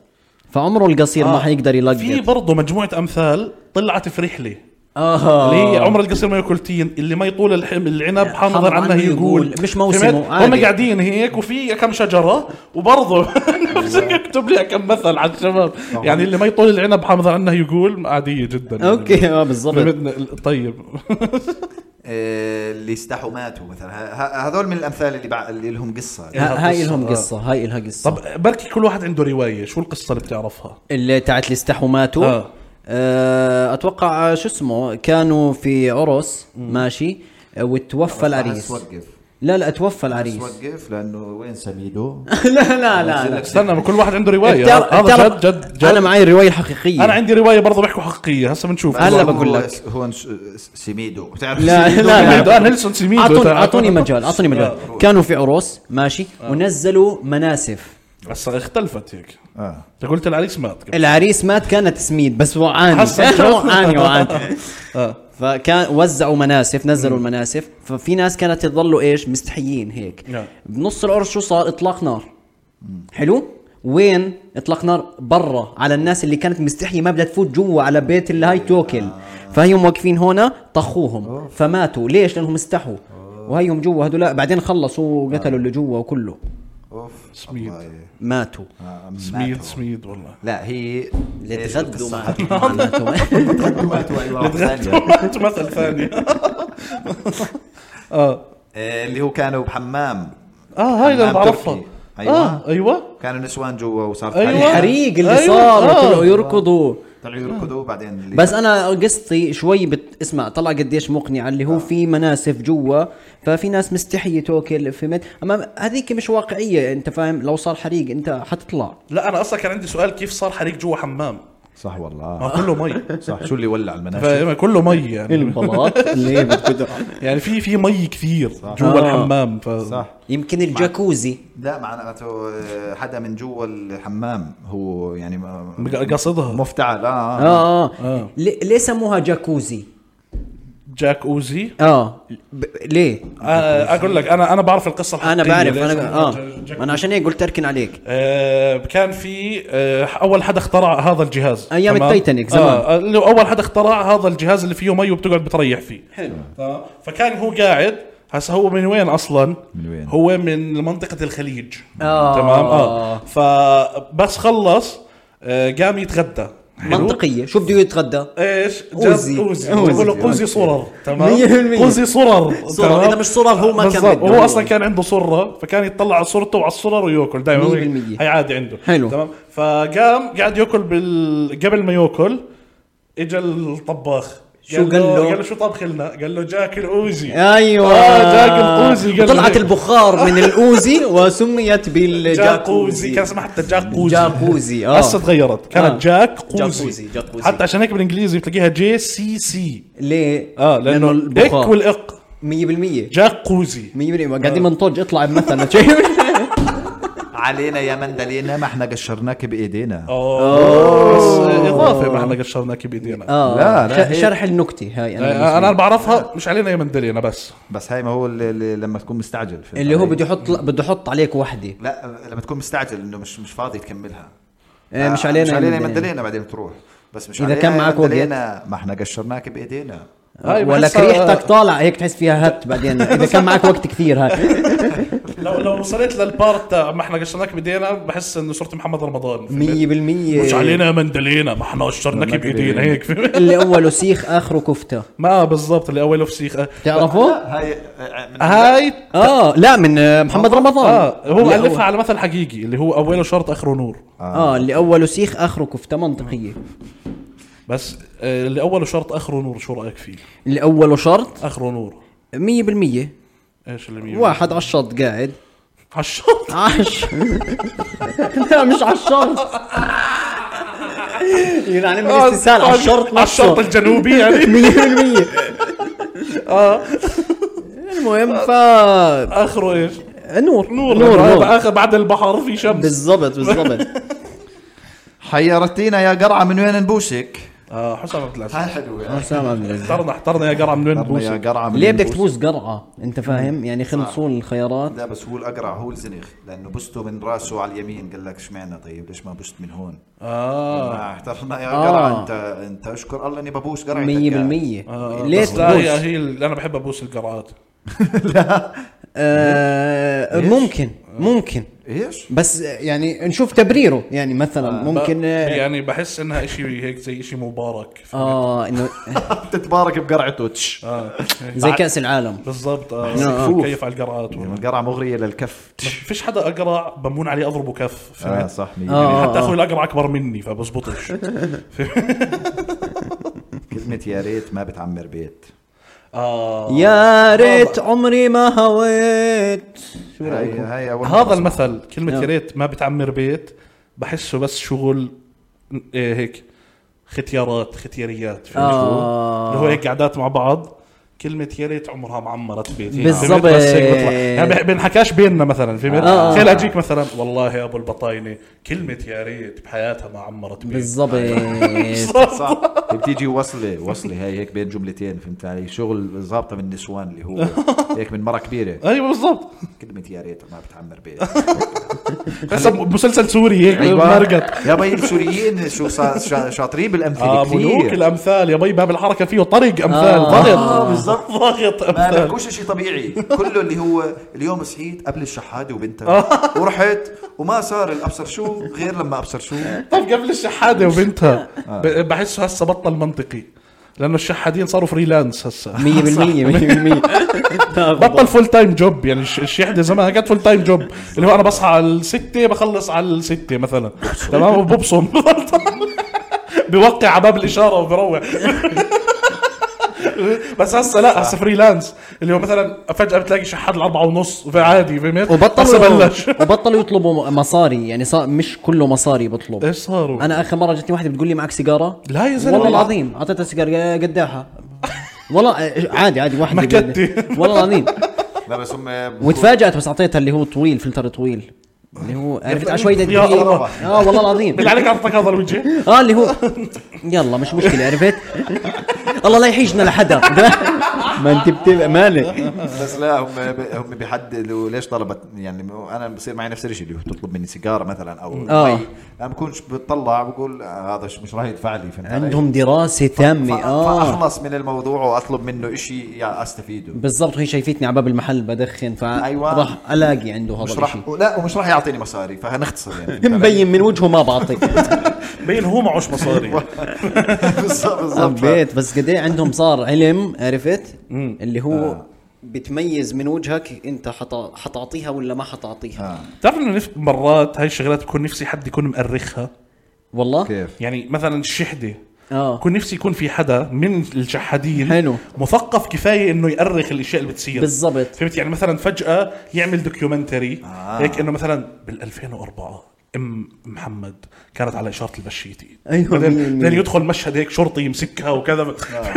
A: فعمره القصير ما حيقدر
B: آه. في
A: يلقط
B: برضه مجموعه امثال طلعت في رحله
A: اه
B: اللي هي عمر القصير ما ياكل تين اللي ما يطول الحم العنب حنظر
A: حنظر
B: عنه
A: عنه
B: يقول
A: يقول. مش موسمه،
B: فهمت؟ هم
A: عادي.
B: قاعدين هيك وفي كم شجره وبرضه [laughs] نفس يكتب لي كم مثل على الشباب يعني اللي ما يطول العنب حنظر عنه يقول عاديه جدا يعني.
A: اوكي اه بالضبط
B: فهمت؟ طيب [laughs]
C: آه، اللي استحوا ماتوا مثلا ه- ه- هذول من الامثال اللي بع... اللي لهم قصه
A: ه- هاي
B: قصة،
A: لهم
B: آه.
A: قصه هاي لها قصه
B: طب بركي كل واحد عنده روايه شو القصه اللي بتعرفها
A: اللي تاعت الاستحوماتو
B: آه.
A: آه. آه اتوقع آه، شو اسمه كانوا في عرس ماشي آه، وتوفى العريس
C: وقف
A: لا لا توفى العريس
C: وقف لانه وين
D: سميدو
A: [laughs] لا لا لا, لا.
B: استنى ما كل واحد عنده روايه
A: إيه. بتعرف-
B: طيب، هذا
A: بتعرف-
B: جد جد, جد.
A: انا
B: أنا,
A: معي الروايه الحقيقيه
B: انا عندي روايه برضه بيحكوا حقيقيه هسه بنشوف
A: هلا
C: هو-
A: بقول لك.
C: هو نش- سميدو بتعرف
A: لا
C: سميدو؟
A: لا
B: سميدو،
A: لا
B: آه، نيلسون سميدو
A: اعطوني
B: تاع-
A: اعطوني مجال اعطوني مجال كانوا في عروس ماشي ونزلوا مناسف
B: هسه اختلفت هيك
C: آه.
D: اه
B: انت قلت العريس مات
A: العريس مات كانت سميد بس وعاني [laughs]
B: حسن.
A: وعاني وعاني فكان وزعوا مناسف نزلوا المناسف ففي ناس كانت تضلوا ايش مستحيين هيك
B: نعم.
A: بنص العرس شو صار اطلاق نار حلو وين اطلاق نار برا على الناس اللي كانت مستحيه ما بدها تفوت جوا على بيت اللي هاي توكل فهيهم واقفين هنا طخوهم فماتوا ليش لانهم استحوا وهيهم جوا هذول بعدين خلصوا وقتلوا اللي جوا وكله
C: اوف
B: سميد.
C: الله.
A: ماتوا
D: آه،
B: سميد سميد والله
C: لا هي
A: اللي
C: إيش
A: تغدوا
C: القصة؟
A: ماتوا ماتوا
C: [laughs] تغدوا ماتوا ايوه ثانية.
B: [laughs] انت مثل ثاني اه
C: آه، اللي هو كانوا بحمام
B: اه هاي اللي
C: حمام
B: بعرفها
C: تركي. أيوة.
B: اه ايوه
C: كانوا نسوان جوا وصار
B: أيوة.
C: حريق.
A: الحريق اللي
B: أيوة،
A: صار
B: آه.
A: وطلعوا يركضوا
C: طلعوا يركضوا بعدين اللي-
A: بس انا قصتي شوي بت... اسمع طلع قديش مقنعه اللي هو في مناسف جوا ففي ناس مستحيه توكل فهمت اما هذيك مش واقعيه انت فاهم لو صار حريق انت حتطلع
B: لا انا اصلا كان عندي سؤال كيف صار حريق جوا حمام
D: صح
C: آه.
B: ما
D: والله
B: كله مي
A: [laughs]
D: صح شو اللي ولع المناشد
B: فاهم؟ كله مي يعني
A: البلاط اللي بتقدر
B: يعني في في مي كثير جوا
A: آه.
B: الحمام ف
D: صح
A: يمكن الجاكوزي
C: لا معناته آه، حدا من جوا الحمام هو يعني ما-
B: قصدها
C: مفتعل اه آه.
A: اه
B: آه.
A: اه ليه ليه سموها جاكوزي؟
B: جاك اوزي
A: اه ب... ليه؟
B: آه اقول لك انا انا بعرف القصه الحقيقيه
A: انا بعرف
B: ليش
A: انا اه
B: جاك-
A: انا عشان هيك قلت اركن عليك
B: آه، كان في آه، اول حدا اخترع هذا الجهاز
A: أيام
B: تمام؟
A: التايتانيك زمان.
B: آه، اللي هو اول حدا اخترع هذا الجهاز اللي فيه مي وبتقعد بتريح فيه
A: حلو
B: تمام فكان هو قاعد هسا هو من وين اصلا
D: من وين؟
B: هو من منطقه الخليج
A: آه.
B: تمام اه فبس خلص آه، قام يتغدى حلو؟
A: منطقيه شو بده يتغدى؟
B: ايش؟
A: أوزي.
B: اوزي
A: أوزي.
B: بقول له قوزي صرر تمام؟
A: مية بالمية.
B: قوزي صرر
A: صرر.
B: تمام؟
A: إذا مش صرر هو ما كان
B: بالضبط.
A: بده.
B: هو اصلا كان عنده صره فكان يطلع على صورته وعلى الصرر وياكل دائما
A: مية بالمية.
B: هي عادي عنده
A: حلو.
B: تمام فقام قاعد ياكل بال قبل ما ياكل اجى الطباخ
A: شو قال له؟
B: قال له شو طبخ لنا؟ قال له جاك الاوزي
A: ايوه
B: آه، جاك القوزي قبل هيك.
A: طلعت البخار من
B: [laughs]
A: الاوزي وسميت
B: جاكوزي
A: بالجاكوزي
B: كان اسمها حتى جاكوزي
A: جاكوزي، آه.
B: هسه تغيرت كانت
A: آه.
B: جاكوزي
A: جاكوزي، جاكوزي.
B: حتى عشان هيك بالانجليزي بتلاقيها جي سي سي
A: ليه؟
B: اه لانه الاك
A: البخار 100%
B: والاق
A: 100%
B: جاكوزي آه.
A: قاعدين بنطج اطلع
B: [laughs]
A: بمثل شيء
C: علينا يا مندلينا ما احنا قشرناك بايدينا
D: آه.
B: اوه بس اضافه ما احنا قشرناك بايدينا
A: اه
C: لا، لا،
A: ش-
C: هيك.
A: شرح النكته هاي انا
B: آه،
A: بالنسبة
B: انا
A: لي.
B: بعرفها مش علينا يا مندلينا بس
A: آه،
C: بس هاي ما هو اللي اللي لما تكون مستعجل
B: آه.
C: في
A: اللي هو
C: الطريق.
A: بده يحط بده يحط عليك وحده
C: لا لما تكون مستعجل انه مش مش فاضي تكملها
A: آه، مش
C: آه،
A: علينا
C: مش
A: يا
C: علينا
A: مندلينا.
C: مندلينا بعدين تروح بس مش
A: إذا
C: علينا
A: كان
C: يا
A: معك وقت.
C: مندلينا ما احنا قشرناك بايدينا
B: هاي
A: ولك
B: بحسها-
A: ريحتك آه، طالع هيك تحس فيها هت
B: [laughs]
A: بعدين اذا كان معك وقت كثير هاي
B: آه، لو لو وصلت للبارت تاع ما احنا قشرناك بايدينا بحس انه صرت محمد رمضان
A: 100%
B: مش علينا يا مندلينا ما احنا قشرناك بايدينا هيك فهمت؟
A: اللي اوله سيخ اخره كفته
B: ما بالضبط اللي اوله فسيخ
A: تعرفوا؟
C: هاي آه، من-
B: هاي
A: اه لا من آه، محمد رمضان
B: اه هو
A: اللي
B: الفها على مثل حقيقي اللي هو اوله شرط اخره نور
A: اه
B: آه.
A: اللي اوله سيخ اخره كفته منطقيه
B: بس آه، اللي اوله شرط اخره نور شو رايك فيه؟
A: اللي اوله شرط
B: اخره نور
A: 100%
B: ايش اللي مية
A: واحد على الشط قاعد
B: على الشرط
A: عش [laughs] لا مش على الشرط يعني من الاستسهال على الشرط
B: آه، على الشرط
A: نفسه
B: الجنوبي
A: [laughs]
B: يعني [laughs]
A: 100%
B: آه.
A: المهم ف
B: اخره ايش؟
A: نور
B: نور
A: نور,
B: هذا
A: نور.
B: آخر بعد البحر في شمس [laughs]
A: بالضبط بالضبط
C: حيرتينا يا قرعه من وين نبوسك
B: آه حسام عبد العزيز
C: هاي حلوه يعني.
A: حسام عبد العزيز
B: احترنا احترنا يا قرع من وين
D: آه، يا
B: بوسك
D: قرعه من
A: ليه بدك
D: البوس.
A: تفوز قرعه انت فاهم يعني خلصوا الخيارات
B: آه.
C: لا بس هو الاقرع هو الزنخ لانه بسته من راسه على اليمين قال لك اشمعنا طيب ليش ما بست من هون؟
B: اه
C: آه، احترنا يا
A: آه.
C: قرع انت انت اشكر الله اني ببوس يعني. قرع
A: 100% ليه
B: آه، بس لا هي
A: تفوز
B: هي ال- انا بحب ابوس القرعات
A: آه، ممكن ممكن [laughs]
C: ايش؟
A: بس يعني نشوف تبريره يعني مثلا ممكن
B: ب-
A: آه،
B: يعني بحس انها شيء هيك زي شيء مبارك
A: اه
B: [laughs]
A: انه
C: بتتبارك بقرعته تش
B: آه.
A: زي كاس العالم
B: بالضبط
A: آه.
B: آه. كيف على القرعات
C: يعني
B: والله.
C: القرعه مغريه للكف تش
B: فيش حدا اقرع بمون عليه اضربه كف
C: اه
B: فهمت؟
C: صح
A: آه.
C: مية.
B: يعني حتى اخوي الاقرع اكبر
A: [laughs]
B: مني فبزبطش
C: كلمه يا ريت ما بتعمر بيت
B: آه.
A: يا ريت عمري ما هويت شو رايكم؟
B: أيوه.
C: هاي هاي اول مرة
B: هذا
C: أسمع.
B: المثل كلمة
A: نعم.
B: يا ريت ما بتعمر بيت بحسه بس شغل إيه هيك ختيارات ختياريات
A: آه.
B: فهمت شو؟ اللي هو هيك قعدات مع بعض كلمة يا ريت عمرها ما عمرت بيت هيك
A: بالضبط.
B: فهمت؟ بس هيك بيطلع يعني بح- بنحكاش بيننا مثلا في
A: آه.
B: آه. تخيل اجيك مثلا والله يا ابو البطاينة كلمة يا ريت بحياتها ما عمرت بيت [laughs]
A: بالضبط
C: صح طيب، بتيجي وصله وصله هاي هيك بين جملتين فهمت علي شغل ظابطه من النسوان اللي هو هيك من مره كبيره
B: ايوه بالضبط
C: كلمه يا ريت ما بتعمر بيت
B: هسه مسلسل سوري هيك مرقت
C: أيوة. يا بي السوريين شو صا- شا- شاطرين بالامثله
B: اه ملوك
C: كثير
B: الامثال يا بي باب الحركه فيه طرق امثال
A: آه.
B: ضغط
C: آه، بالضبط.
B: ضغط
C: ما
B: امثال
C: بحكوش شيء طبيعي كله اللي هو اليوم صحيت قبل الشحاده وبنتها
A: آه.
C: ورحت وما صار الابصر شو غير لما ابصر شو
B: طب قبل الشحاده وبنتها ب- بحسه هسه بطل منطقي لانه الشحادين صاروا فريلانس
A: آه.
B: هسه [laughs]
A: 100% 100%
B: بطل فول تايم جوب يعني الش- الشحده زمان كانت فول تايم جوب اللي هو انا بصحى على الستة بخلص على الستة مثلا تمام وببصم [laughs] بوقع على باب الاشاره وبروح [laughs] بس هسه لا هسه فريلانس اللي هو مثلا فجاه بتلاقي شحاد الأربعة ونص عادي فهمت هسه
A: وبطلوا
B: بلش [laughs]
A: وبطلوا يطلبوا مصاري يعني صار مش كله مصاري بطلب
B: ايش صاروا؟
A: انا اخر مره جتني واحده بتقول لي معك سيجاره
B: لا يا زلمه
A: والله العظيم اعطيتها سيجاره قداحه والله عادي عادي واحد
B: مكتي.
A: والله العظيم
C: لا بس هم
A: وتفاجات بس اعطيتها اللي هو طويل فلتر طويل اللي هو عرفت على شوي دقيق
B: يا الله.
A: اه والله
B: [laughs]
A: العظيم
B: بالله عليك اعطيك هذا الوجه
A: اه اللي هو يلا مش مشكله عرفت الله لا يحيجنا لحدا ما انت بتبقى مالك
C: بس لا هم هم بيحددوا ليش طلبت يعني انا بصير معي نفس الشيء اللي هو تطلب مني سيجاره مثلا او
A: آه.
C: مي. انا بكونش بتطلع بقول آه، هذا مش- مش راح يدفع لي فهمت علي؟
A: عندهم دراسه تامه اه
C: فاخلص من الموضوع واطلب منه شيء يعني استفيده
A: بالضبط هي شايفتني على باب المحل بدخن
C: أيوة.
A: فراح الاقي عنده هذا
C: مش راح
A: الشيء
C: لا ومش راح يعطيني مصاري
A: [laughs]
C: فهنختصر يعني
A: مبين من وجهه ما بعطي
B: بين هو معوش مصاري
C: بالظبط بالظبط
A: حبيت بس قد ايه عندهم صار علم عرفت اللي هو بتميز من وجهك انت حتع- حتعطيها ولا ما
C: آه،
A: حتعطيها
B: بتعرف انه نف- مرات هاي الشغلات بكون نفسي حد يكون مؤرخها
A: والله
C: كيف
B: يعني مثلا الشحده
A: اه
B: بكون نفسي يكون في حدا من الجحادين
A: حلو.
B: مثقف كفايه انه يؤرخ الاشياء اللي بتصير
A: بالضبط.
B: فهمت يعني مثلا فجاه يعمل دوكيومنتري آه. هيك انه مثلا بال 2004 ام محمد كانت على اشاره البشيتي
A: أيوة، مية
B: بعدين
A: مية.
B: بعدين يدخل مشهد هيك شرطي يمسكها وكذا
C: آه.
B: [laughs]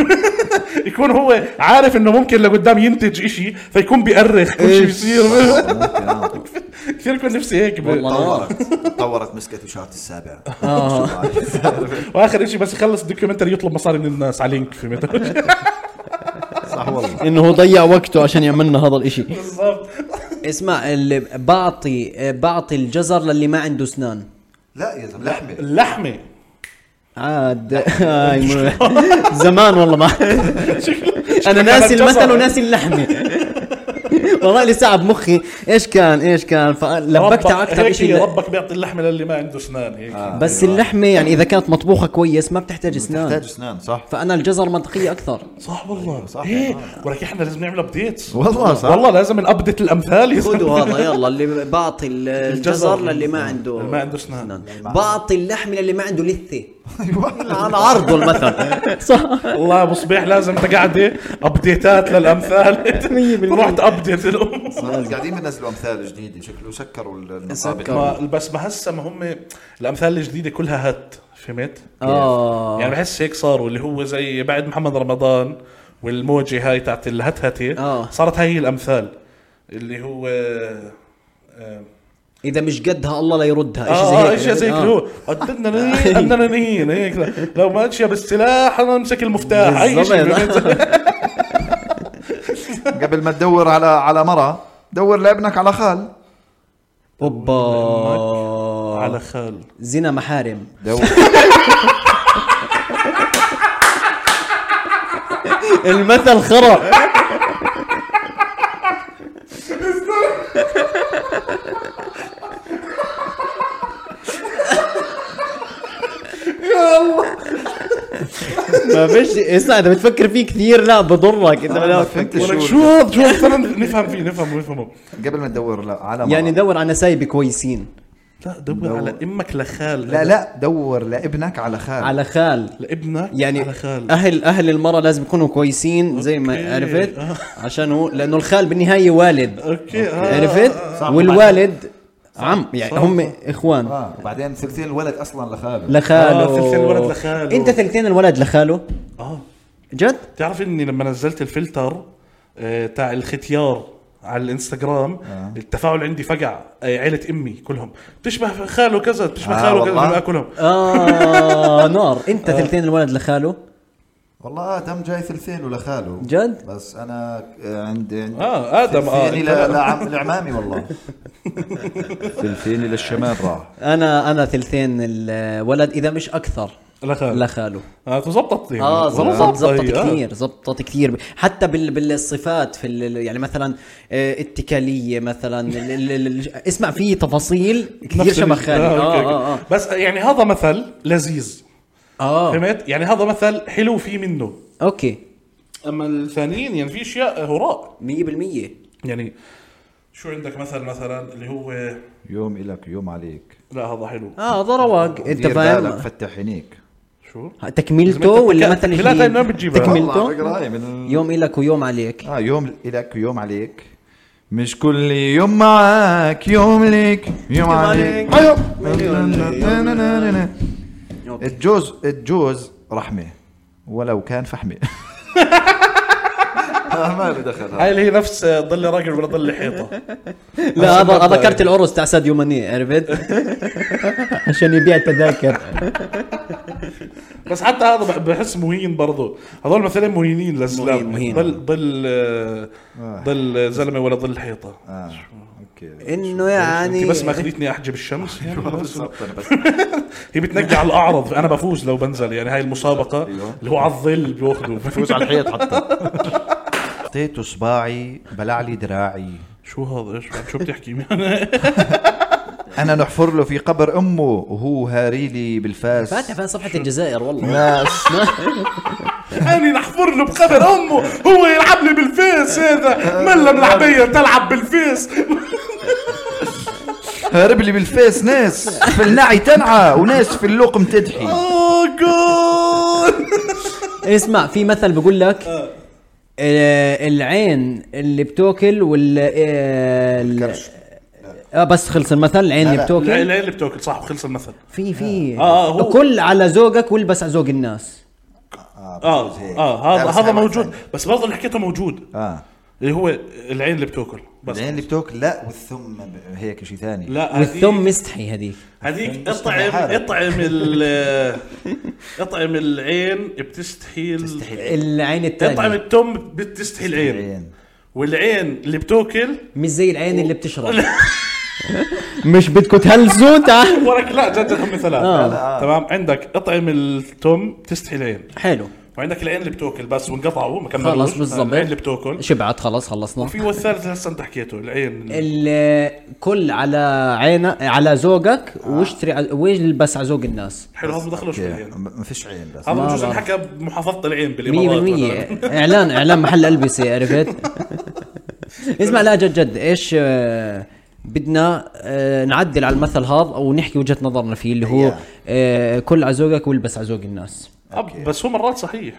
B: يكون هو عارف انه ممكن لقدام ينتج إشي فيكون بيأرخ كل شيء بيصير
C: ممكن آه.
B: [laughs] كثير كنت نفسي هيك ب...
A: والله.
C: تطورت تطورت مسكة إشارة
A: [laughs]
C: السابع
A: آه.
B: واخر شيء بس يخلص الدوكيومنتري يطلب مصاري من الناس على لينك
C: [laughs]
B: في ميتا
C: صح والله
A: انه هو ضيع وقته عشان يعمل لنا هذا الاشي
B: بالضبط
A: اسمع اللي بعطي بعطي الجزر للي ما عنده اسنان
C: لا يا زلمه لحمه
B: اللحمه
A: [laughs] عاد هاي م- زمان والله ما [laughs] انا
B: [laughs]
A: ناسي
B: الجزر.
A: المثل وناسي اللحمه [laughs] والله لسه قاعد بمخي ايش كان ايش كان فلبكت على
B: ربك-
A: اكثر
B: هيك
A: شيء
B: ربك بيعطي اللحمه للي ما عنده اسنان هيك
A: بس اللحمه يعني اذا كانت مطبوخه كويس ما بتحتاج اسنان
C: تحتاج اسنان صح
A: فانا الجزر منطقيه اكثر
B: صح والله صح
C: صح.
B: ايه ولك احنا لازم نعمل ابديتس
C: والله صح.
B: والله لازم نابديت الامثال يا
A: خذوا
B: زلمة.
A: هذا [laughs] يلا اللي بعطي ال- الجزر
B: الجزر.
A: للي ما عنده
B: ما عنده أسنان.
A: بعطي اللحم للي ما عنده لثه
C: [laughs] ايوه
A: انا عرضه المثل صح
B: [laughs] والله يا ابو صبيح لازم انت قاعده ابديتات
A: [laughs]
B: للامثال رحت ابديت الامور
C: قاعدين بنزلوا امثال جديده شكله سكروا ال- المطابق
A: سكروا.
B: ما بس ما هسه ما هم الامثال الجديده كلها هت فهمت؟
A: آه.
B: يعني بحس هيك صاروا اللي هو زي بعد محمد رمضان والموجه هاي تاعت الهتهته
A: آه.
B: صارت هاي الامثال اللي هو آه، آه،
A: اذا مش قدها الله لا يردها
B: اه ايش زي هيك
A: عرفت؟
B: هو أننا- انانيين هيك لا. لو ماشيه بالسلاح انا امسك المفتاح اي شيء
A: بالضبط.
C: قبل ما تدور على على مرة دور لابنك على خال
A: اوبا
B: على خال
A: زنا محارم
C: دور
A: المثل خرا ما فيش اسمع اذا بتفكر فيه كثير لا بضرك
B: آه،
A: انت
C: ما
A: لا
C: فهمت
B: ولك
C: شو
B: شو هذا؟ شو هذا؟ استنى نفهم فيه نفهم نفهمه
C: [laughs] قبل ما تدور لا على مرة
A: يعني دور على نسايب كويسين
B: لا دور على امك لخال
C: لا لا دور لابنك على
B: آه.
C: خال
A: على خال
B: لابنك
A: يعني
B: على خال
A: اهل اهل المراه لازم يكونوا كويسين زي ما
B: أوكي.
A: عرفت عشان هو لانه الخال بالنهايه والد
B: اوكي آه.
A: عرفت
D: صح.
A: والوالد عم يعني هم اخوان
C: آه،
D: اه وبعدين ثلثين الولد اصلا لخاله
A: لخاله
B: آه، ثلثين الولد لخاله.
A: انت ثلثين الولد لخاله
B: اه
A: جد
B: بتعرف اني لما نزلت الفلتر آه، تاع الختيار على الانستغرام آه. التفاعل عندي فقع آه، عيلة امي كلهم بتشبه خاله كذا بتشبه
C: آه،
B: آه خاله
C: والله.
B: كذا كلهم
A: اه نار انت
B: آه.
A: ثلثين الولد لخاله
C: والله ادم جاي ثلثين ولا خاله
A: جد؟
C: بس انا عندي عندي
B: آه، آدم، آه،
C: ثلثيني
B: أنت-
C: يعني لا- لا- لعمامي والله ثلثيني للشمال راح
A: انا انا ثلثين الولد اذا مش اكثر
B: لخال لخ.
A: لخاله
B: آه تزبطت يعني
A: اه زبطت زبطت
B: هي، آه.
A: كثير زبطت كثير حتى بال بالصفات في ال- يعني مثلا آه، اتكاليه مثلا ال- ال- ال- اسمع في تفاصيل كثير
B: نفس ال- آه،
A: شبه خالي
B: أوكي، أوكي.
A: اه اه
B: بس يعني هذا مثل لذيذ
A: اه اه
B: فهمت يعني هذا مثل حلو في منه
A: اوكي
B: اما الثانيين يعني في اشياء هراء
A: 100%
B: يعني شو عندك مثل مثلا اللي هو
D: يوم إلك يوم عليك
B: لا هذا حلو
A: اه هذا رواق انت
D: دير بالك،
A: فاهم
D: فتح عينيك
B: شو
A: تكملته
B: إذا ما
A: ولا
B: تتك-
A: مثل
B: بلاد
A: جديد؟
B: ما بتجيبها.
A: تكملته
C: والله فكرة هاي من-
A: يوم إلك ويوم عليك
C: آه،
D: اه يوم إلك يوم عليك مش كل يوم معاك يوم ليك يوم عليك
C: أيوه.
D: أيوة.
C: الجوز الجوز رحمه ولو كان [laughs] فحمه آه، ما له دخل
B: هاي اللي هي نفس ضل راجل ولا ضل
A: [laughs]
B: حيطه
A: لا هذا هذا كرت العرس تاع ساديو ماني
B: [laughs]
A: عرفت عشان يبيع تذاكر
B: بس حتى هذا بح- بحس مهين برضه هذول مثلا مهينين للاسلام
A: مهين- مهين.
B: ضل ضل آه، ضل زلمه ولا ضل حيطه
D: آه. اوكي
A: انه
B: انت
A: يعني
B: بس ما اخذتني احجب الشمس [laughs] يعني بس-
C: بالضبط أنا بس
B: هي بتنقي على الاعرض انا بفوز لو بنزل يعني هاي
A: [laughs]
B: المسابقه
A: أيوة.
B: اللي هو على الظل بياخذوا
C: بفوز على الحيط حتى حطيته صباعي بلع لي دراعي
B: شو هذا ايش شو [laughs] بتحكي
C: انا نحفر له في قبر امه وهو هاري لي بالفاس
A: فاتح فيها صفحه الجزائر والله
C: ناس
B: انا نحفر له بقبر امه هو يلعب لي بالفيس
A: [laughs]
B: هذا ملا ملعبيه تلعب بالفيس
C: هارب لي بالفاس ناس في النعي تنعى وناس في اللقم تدحي
B: اوه جول
A: اسمع في مثل بقول لك آه، العين اللي بتاكل وال آه، ال- اه بس خلص المثل العين اللي بتاكل
B: العيله اللي بتاكل صح وخلص المثل
A: في في
B: آه، هو-
A: كل على ذوقك والبس على ذوق الناس
C: آه،
B: اه اه
C: لا،
B: هذا
C: بس
B: هذا
C: هاي واحد
B: موجود
C: ثاني.
B: بس برضه اللي حكيته موجود
C: اه
B: اللي هو العين اللي بتاكل بس
C: العين اللي بتاكل لا والثم ب- هيك شيء ثاني
B: لا
A: والثم
B: هذيك
A: مستحي هذيك
B: هذيك
C: مستحيل
B: اطعم
C: حالك.
B: اطعم
C: [laughs]
B: ال اطعم العين بتستحي ال-
A: العين
B: اطعم
A: الثانيه
B: التم بتستحي العين
C: العين
B: والعين اللي بتاكل
A: مش زي العين اللي بتشرب
B: [laughs]
A: مش آه. بدكم تهلزوا تعال
B: ولك لا جد هم
C: آه.
B: ثلاث تمام عندك اطعم التم بتستحي العين [laughs]
A: حلو
B: وعندك العين اللي بتاكل بس وانقطعوا ما كملوش
A: خلص بالضبط
B: العين اللي بتاكل
A: شبعت خلص خلصنا
B: وفي والثالث هسه انت حكيته العين
A: ال- كل على عينك على ذوقك واشتري ع- والبس على ذوق الناس
B: حلو هذا ما دخلوش في
C: اوكي
B: العين
C: م- ما فيش عين بس
B: هذا
A: ما
B: بجوز
A: بعرف.
B: انحكى بمحافظه العين بالامارات
A: 100% اعلان اعلان محل البسه عرفت اسمع لا جد جد ايش آه، بدنا آه، نعدل على المثل هذا او نحكي وجهه نظرنا فيه اللي هو آه، كل على ذوقك والبس على ذوق الناس
B: أب بس هو مرات صحيح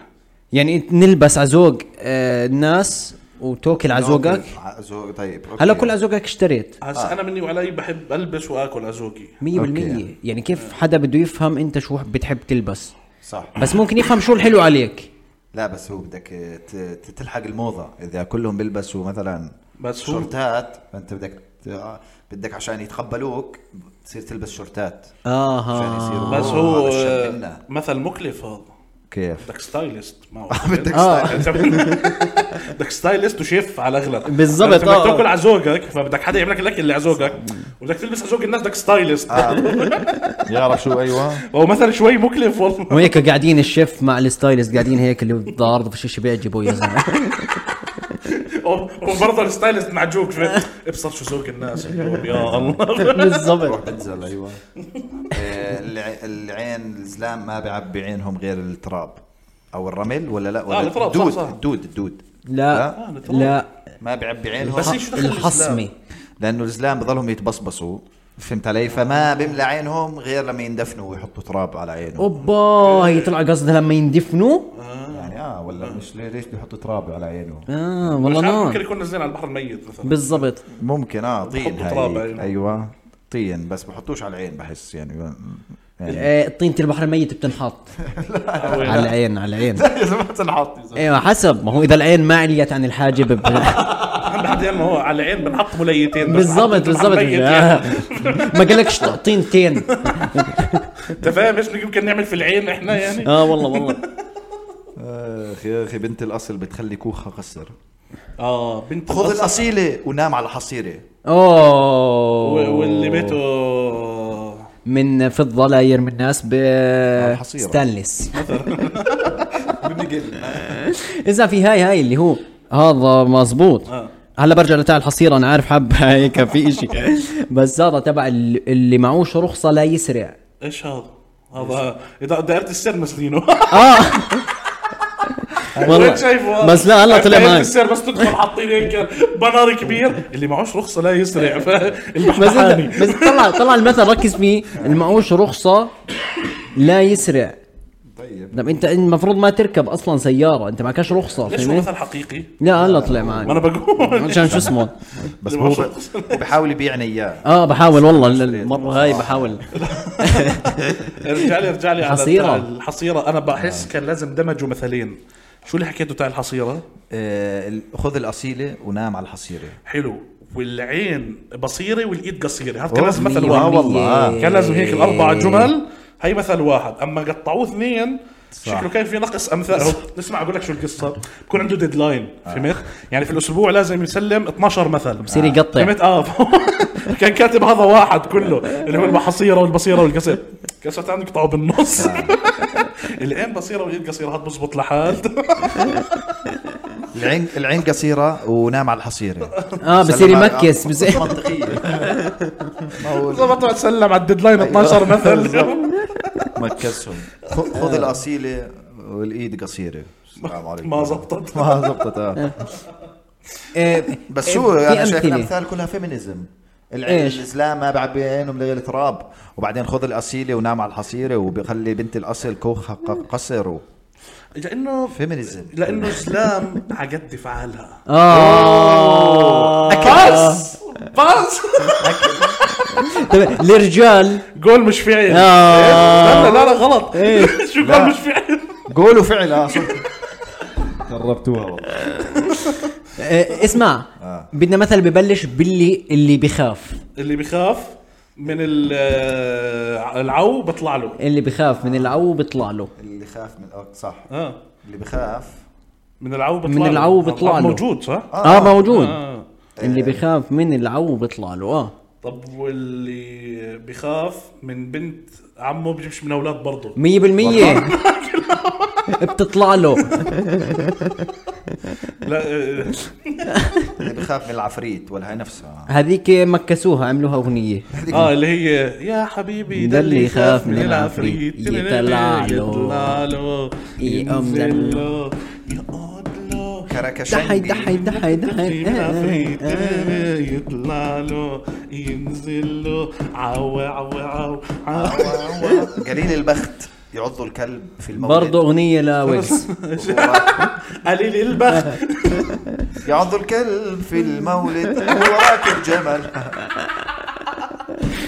A: يعني انت نلبس على ذوق آه، الناس وتوكل على ذوقك
C: ع- ذوق طيب أوكي.
A: هلا كل على ذوقك اشتريت
C: آه.
B: هسا انا مني وعلي بحب البس واكل ازوقي
A: 100% يعني كيف حدا بده يفهم انت شو بتحب تلبس
C: صح
A: بس ممكن يفهم شو الحلو عليك
C: لا بس هو بدك ت- ت- تلحق الموضه اذا كلهم بيلبسوا مثلا
B: بس هو-
C: شورتات فانت بدك ت- بدك عشان يتقبلوك تصير تلبس شورتات عشان
A: اها
C: يصيروا-
B: بس
C: أوه،
B: هو
C: آه، هذا الشاب منا.
B: مثل مكلف هذا [laughs]
C: كيف
B: بدك ستايلست معه
C: [laughs] بدك
A: آه.
B: أنت [laughs] بدك ستايلست وشيف على يعني الاغلب
A: بالضبط،
B: أنت
A: آه.
B: بدك تاكل على ذوقك فبدك حدا يعمل لك الاكل اللي على ذوقك وبدك تلبس على ذوق الناس بدك ستايلست
C: آه.
D: يعرف شو
A: أيوة.
D: ايوه
B: هو مثل شوي مكلف والله
A: وهيك قاعدين الشيف مع الستايلست قاعدين هيك اللي ضارب في شيء بيعجبه يا زلمه
B: وبرضه الستايلست معجوق فهمت؟ ابصر شو ذوق الناس اليوم يا الله
A: بالضبط
C: انزل ايوه [laughs] آه، الع- العين الزلام ما بيعبي عينهم غير التراب او الرمل ولا لا ولا
B: آه، التراب، صح،
C: الدود
B: صح.
C: الدود الدود
A: لا
B: آه، نتوقع.
A: لا
C: ما بيعبي عينهم
B: بس هي شو دخل
A: الحصمه
B: الإسلام؟
C: لانه الزلام بضلهم يتبصبصوا فهمت علي فما بملى عينهم غير لما يندفنوا ويحطوا تراب على عينهم
A: اوبا
B: إيه.
A: هي طلع قصدها لما يندفنوا
C: يعني اه ولا مش ليه- ليش بيحطوا تراب على عينهم
A: اه والله
B: مش عارف، ممكن
A: نار
B: يكون نزلين على البحر الميت مثلا
A: بالضبط
C: ممكن اه طين
B: بحطوا تراب
C: هاي
B: عينهم.
C: ايوه طين بس بحطوش على العين بحس يعني يعني
A: آه، طينة البحر الميت بتنحط على العين على العين [laughs]
C: [laughs] يا زلمه تنحط يا زلمة.
B: إيه،
A: ايوه حسب ما هو اذا العين ما عليت عن الحاجب
B: [laughs]
A: ب-
B: اهم حد ما هو على العين بنحط مليتين بس
A: بالضبط
B: حط
A: بالضبط [laughs]
B: ميت يعني.
A: آه. ما قالكش
B: [laughs]
A: طينتين
B: انت فاهم ايش يمكن نعمل في العين احنا يعني
A: اه والله والله
B: آه،
C: اخ يا اخي بنت الاصل بتخلي كوخها قصر
B: اه بنت
C: خذ
B: الأصل
C: الاصيله ونام على الحصيره
A: اوه
B: و- واللي بيته
A: من فضه لا يرمي الناس ب
C: الحصيرة.
B: [laughs]
A: ستانلس [laughs]
C: بنقل
A: اذا في هاي هاي اللي هو هذا مزبوط
B: آه.
A: هلا برجع لتاع الحصيره انا عارف حب [laughs] هيك في اشي بس هذا تبع ال- اللي معوش رخصه لا يسرع
B: ايش هذا؟ هذا اذا دائرة
A: [laughs]
B: السير مسنينه
A: اه
B: وين شايفه
A: بس لا هلا طلع
B: دائرة
A: معك
B: السير بس تدخل حاطين هيك بنار كبير اللي معوش رخصة لا يسرع
A: بس انت-
B: فالبحراني
A: بس طلع طلع المثل ركز فيه اللي معوش رخصه لا يسرع
C: طيب
A: طب انت المفروض ما تركب اصلا سياره انت معكش رخصه
B: ليش هو
A: فهمت
B: مثل حقيقي؟
A: لا هلا طلع
B: ما انا
A: معك
B: بقول
A: عشان شو اسمه
C: بس
B: اللي
C: هو
B: معوش
C: ب-
B: رخصة.
C: هو بحاول يبيعنا اياه
A: اه بحاول والله المره هاي بحاول
B: [laughs] ارجع لي ارجع لي على
A: الحصيرة.
B: بتاع الحصيرة انا بحس كان لازم دمجوا مثلين شو اللي حكيته تاع الحصيرة؟
C: آه، ال- خذ الاصيله ونام على الحصيره
B: حلو والعين بصيرة والايد قصيرة هذا كان
C: أوه،
B: لازم مثل
C: مية
B: واحد
A: آه.
C: والله.
B: كان لازم هيك الاربع جمل هي مثل واحد اما قطعوه اثنين شكله كان في نقص امثال [laughs] هو اسمع اقول لك شو القصه بكون عنده ديدلاين فهمت يعني في الاسبوع لازم يسلم 12 مثل
A: بصير يقطع.
B: فهمت اه [laughs] كان كاتب هذا واحد كله اللي هو الحصيره والبصيره والقصير كسرت عندك قطعه بالنص [laughs] العين بصيره والايد قصيره هاد بزبط لحال
C: العين العين قصيره ونام على الحصيره
A: اه بصير
C: آه،
A: يمكس بصير
C: منطقيه
B: [laughs] بالضبط تسلم على الديدلاين 12 مثل
C: مكسهم خذ الاصيله والايد قصيره السلام عليكم
B: [laughs] آه. ما زبطت
C: ما زبطت آه.
A: إيه،
C: بس شو
A: في
C: انا شايف
A: أمثلة.
C: الامثال كلها فيمينيزم
A: إيش؟
C: الاسلام ما بعبي عينهم لغير تراب وبعدين خذ الاصيله ونام على الحصيره وبخلي بنت الاصل كوخها ق- قصر و-
B: لانه
C: فيمينيزم
B: لانه اسلام عقد فعلها
A: آه.
C: آه.
A: اه
B: بس بس
A: طيب، الرجال
B: [laughs] جول مش فعل
A: آه.
B: لا لا لا غلط
A: إيه.
B: [laughs] شو
C: لا.
B: جول مش فعل
C: قول وفعل اه صح قربتوها والله
A: آه، اسمع بدنا مثل ببلش باللي اللي بخاف
B: اللي بيخاف من ال- آه، العو بطلع له
A: اللي بخاف من العو بيطلع له
C: اللي خاف من الأرض صح
B: اه
C: اللي بخاف
B: من العو بطلع
A: من
B: له. آه،
A: العو بطلع
B: العو
A: له.
B: موجود صح
A: اه موجود
B: آه.
A: اللي بخاف من العو بيطلع له اه
B: طب واللي بيخاف من بنت عمه بيجيبش من اولاد برضه
A: 100% [laughs] بتطلع له
B: لا آه،
C: اللي بخاف من العفريت ولا هي نفسها
A: هذيك مكسوها عملوها اغنيه
B: اه اللي هي يا حبيبي
A: ده
B: ده
A: اللي
B: اللي
A: يخاف
B: يخاف
A: من
B: من العفريت
A: العفريت يطلع له.
B: يطلع له
A: يأمن
B: ينزل
A: له.
B: له يقعد له
A: دحي
C: كركشنجي
A: دحي دحي دحي
B: من
A: آه،
B: العفريت
A: آه.
B: يطلع له ينزل له عو عو عو عو
C: قليل البخت يعضوا الكلب في المولد
A: برضه
C: [laughs]
A: اغنيه لويلز
B: قليل البخت
C: يعضوا الكلب في المولد وهو راكب
A: [laughs]
C: جمل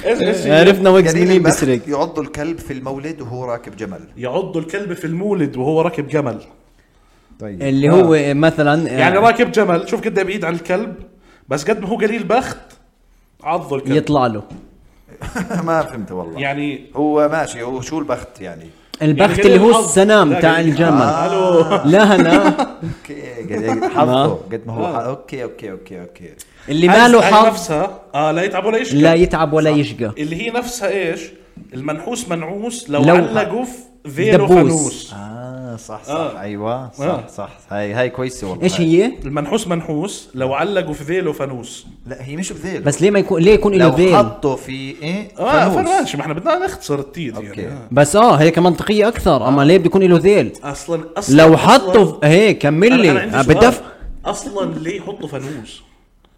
B: ايش ايش هي؟
A: عرفنا ويجز
C: قليل
A: منين
C: البخت
A: بيسرق
C: يعضوا الكلب في المولد وهو راكب جمل
B: يعض الكلب في المولد وهو راكب جمل
D: طيب
A: اللي هو آه، مثلا
B: يعني راكب جمل شوف قد إيه بعيد عن الكلب بس قد ما هو قليل بخت عضه الكلب
A: يطلع له
C: [laughs] ما فهمت والله
B: يعني
C: هو ماشي هو شو البخت يعني
A: البخت
B: قليل
A: اللي هو
B: الحظ. لا، يعني
A: السنام تاع
B: قليل الحظ.
A: الجمل
B: الو
A: لا
B: [laughs]
A: لا
C: اوكي قد- قد حظه قد ما هو حظ- اوكي اوكي اوكي اوكي
A: اللي ما له
B: هاي
A: حظ
B: نفسها اه لا يتعب ولا يشكى
A: لا يتعب ولا يشقى
B: اللي هي نفسها ايش؟ المنحوس منعوس لو,
A: لو-
B: علقوا في ذيله
A: دبوس.
B: فانوس
C: اه صح صح
B: آه.
C: ايوه صح
B: آه.
C: صح هاي هاي كويسه والله
A: ايش هي؟
B: المنحوس منحوس لو علقوا في ذيله فانوس
C: لا هي مش بذيل
A: بس إيه ليه ما يكون ليه يكون له
C: لو
A: ذيل؟
C: حطوا في ايه
B: اه
C: فانوس.
B: فماشي ما احنا بدنا نختصر التيد
C: أوكي.
B: يعني آه.
A: بس اه هيك منطقية أكثر أما ليه بده يكون له ذيل؟
B: اصلا اصلا
A: لو
B: أصلاً-
A: حطوا في- هيك كمل
B: أنا- أنا
A: لي آه،
B: عندي سؤال.
A: بدف
B: اصلا ليه يحطوا فانوس؟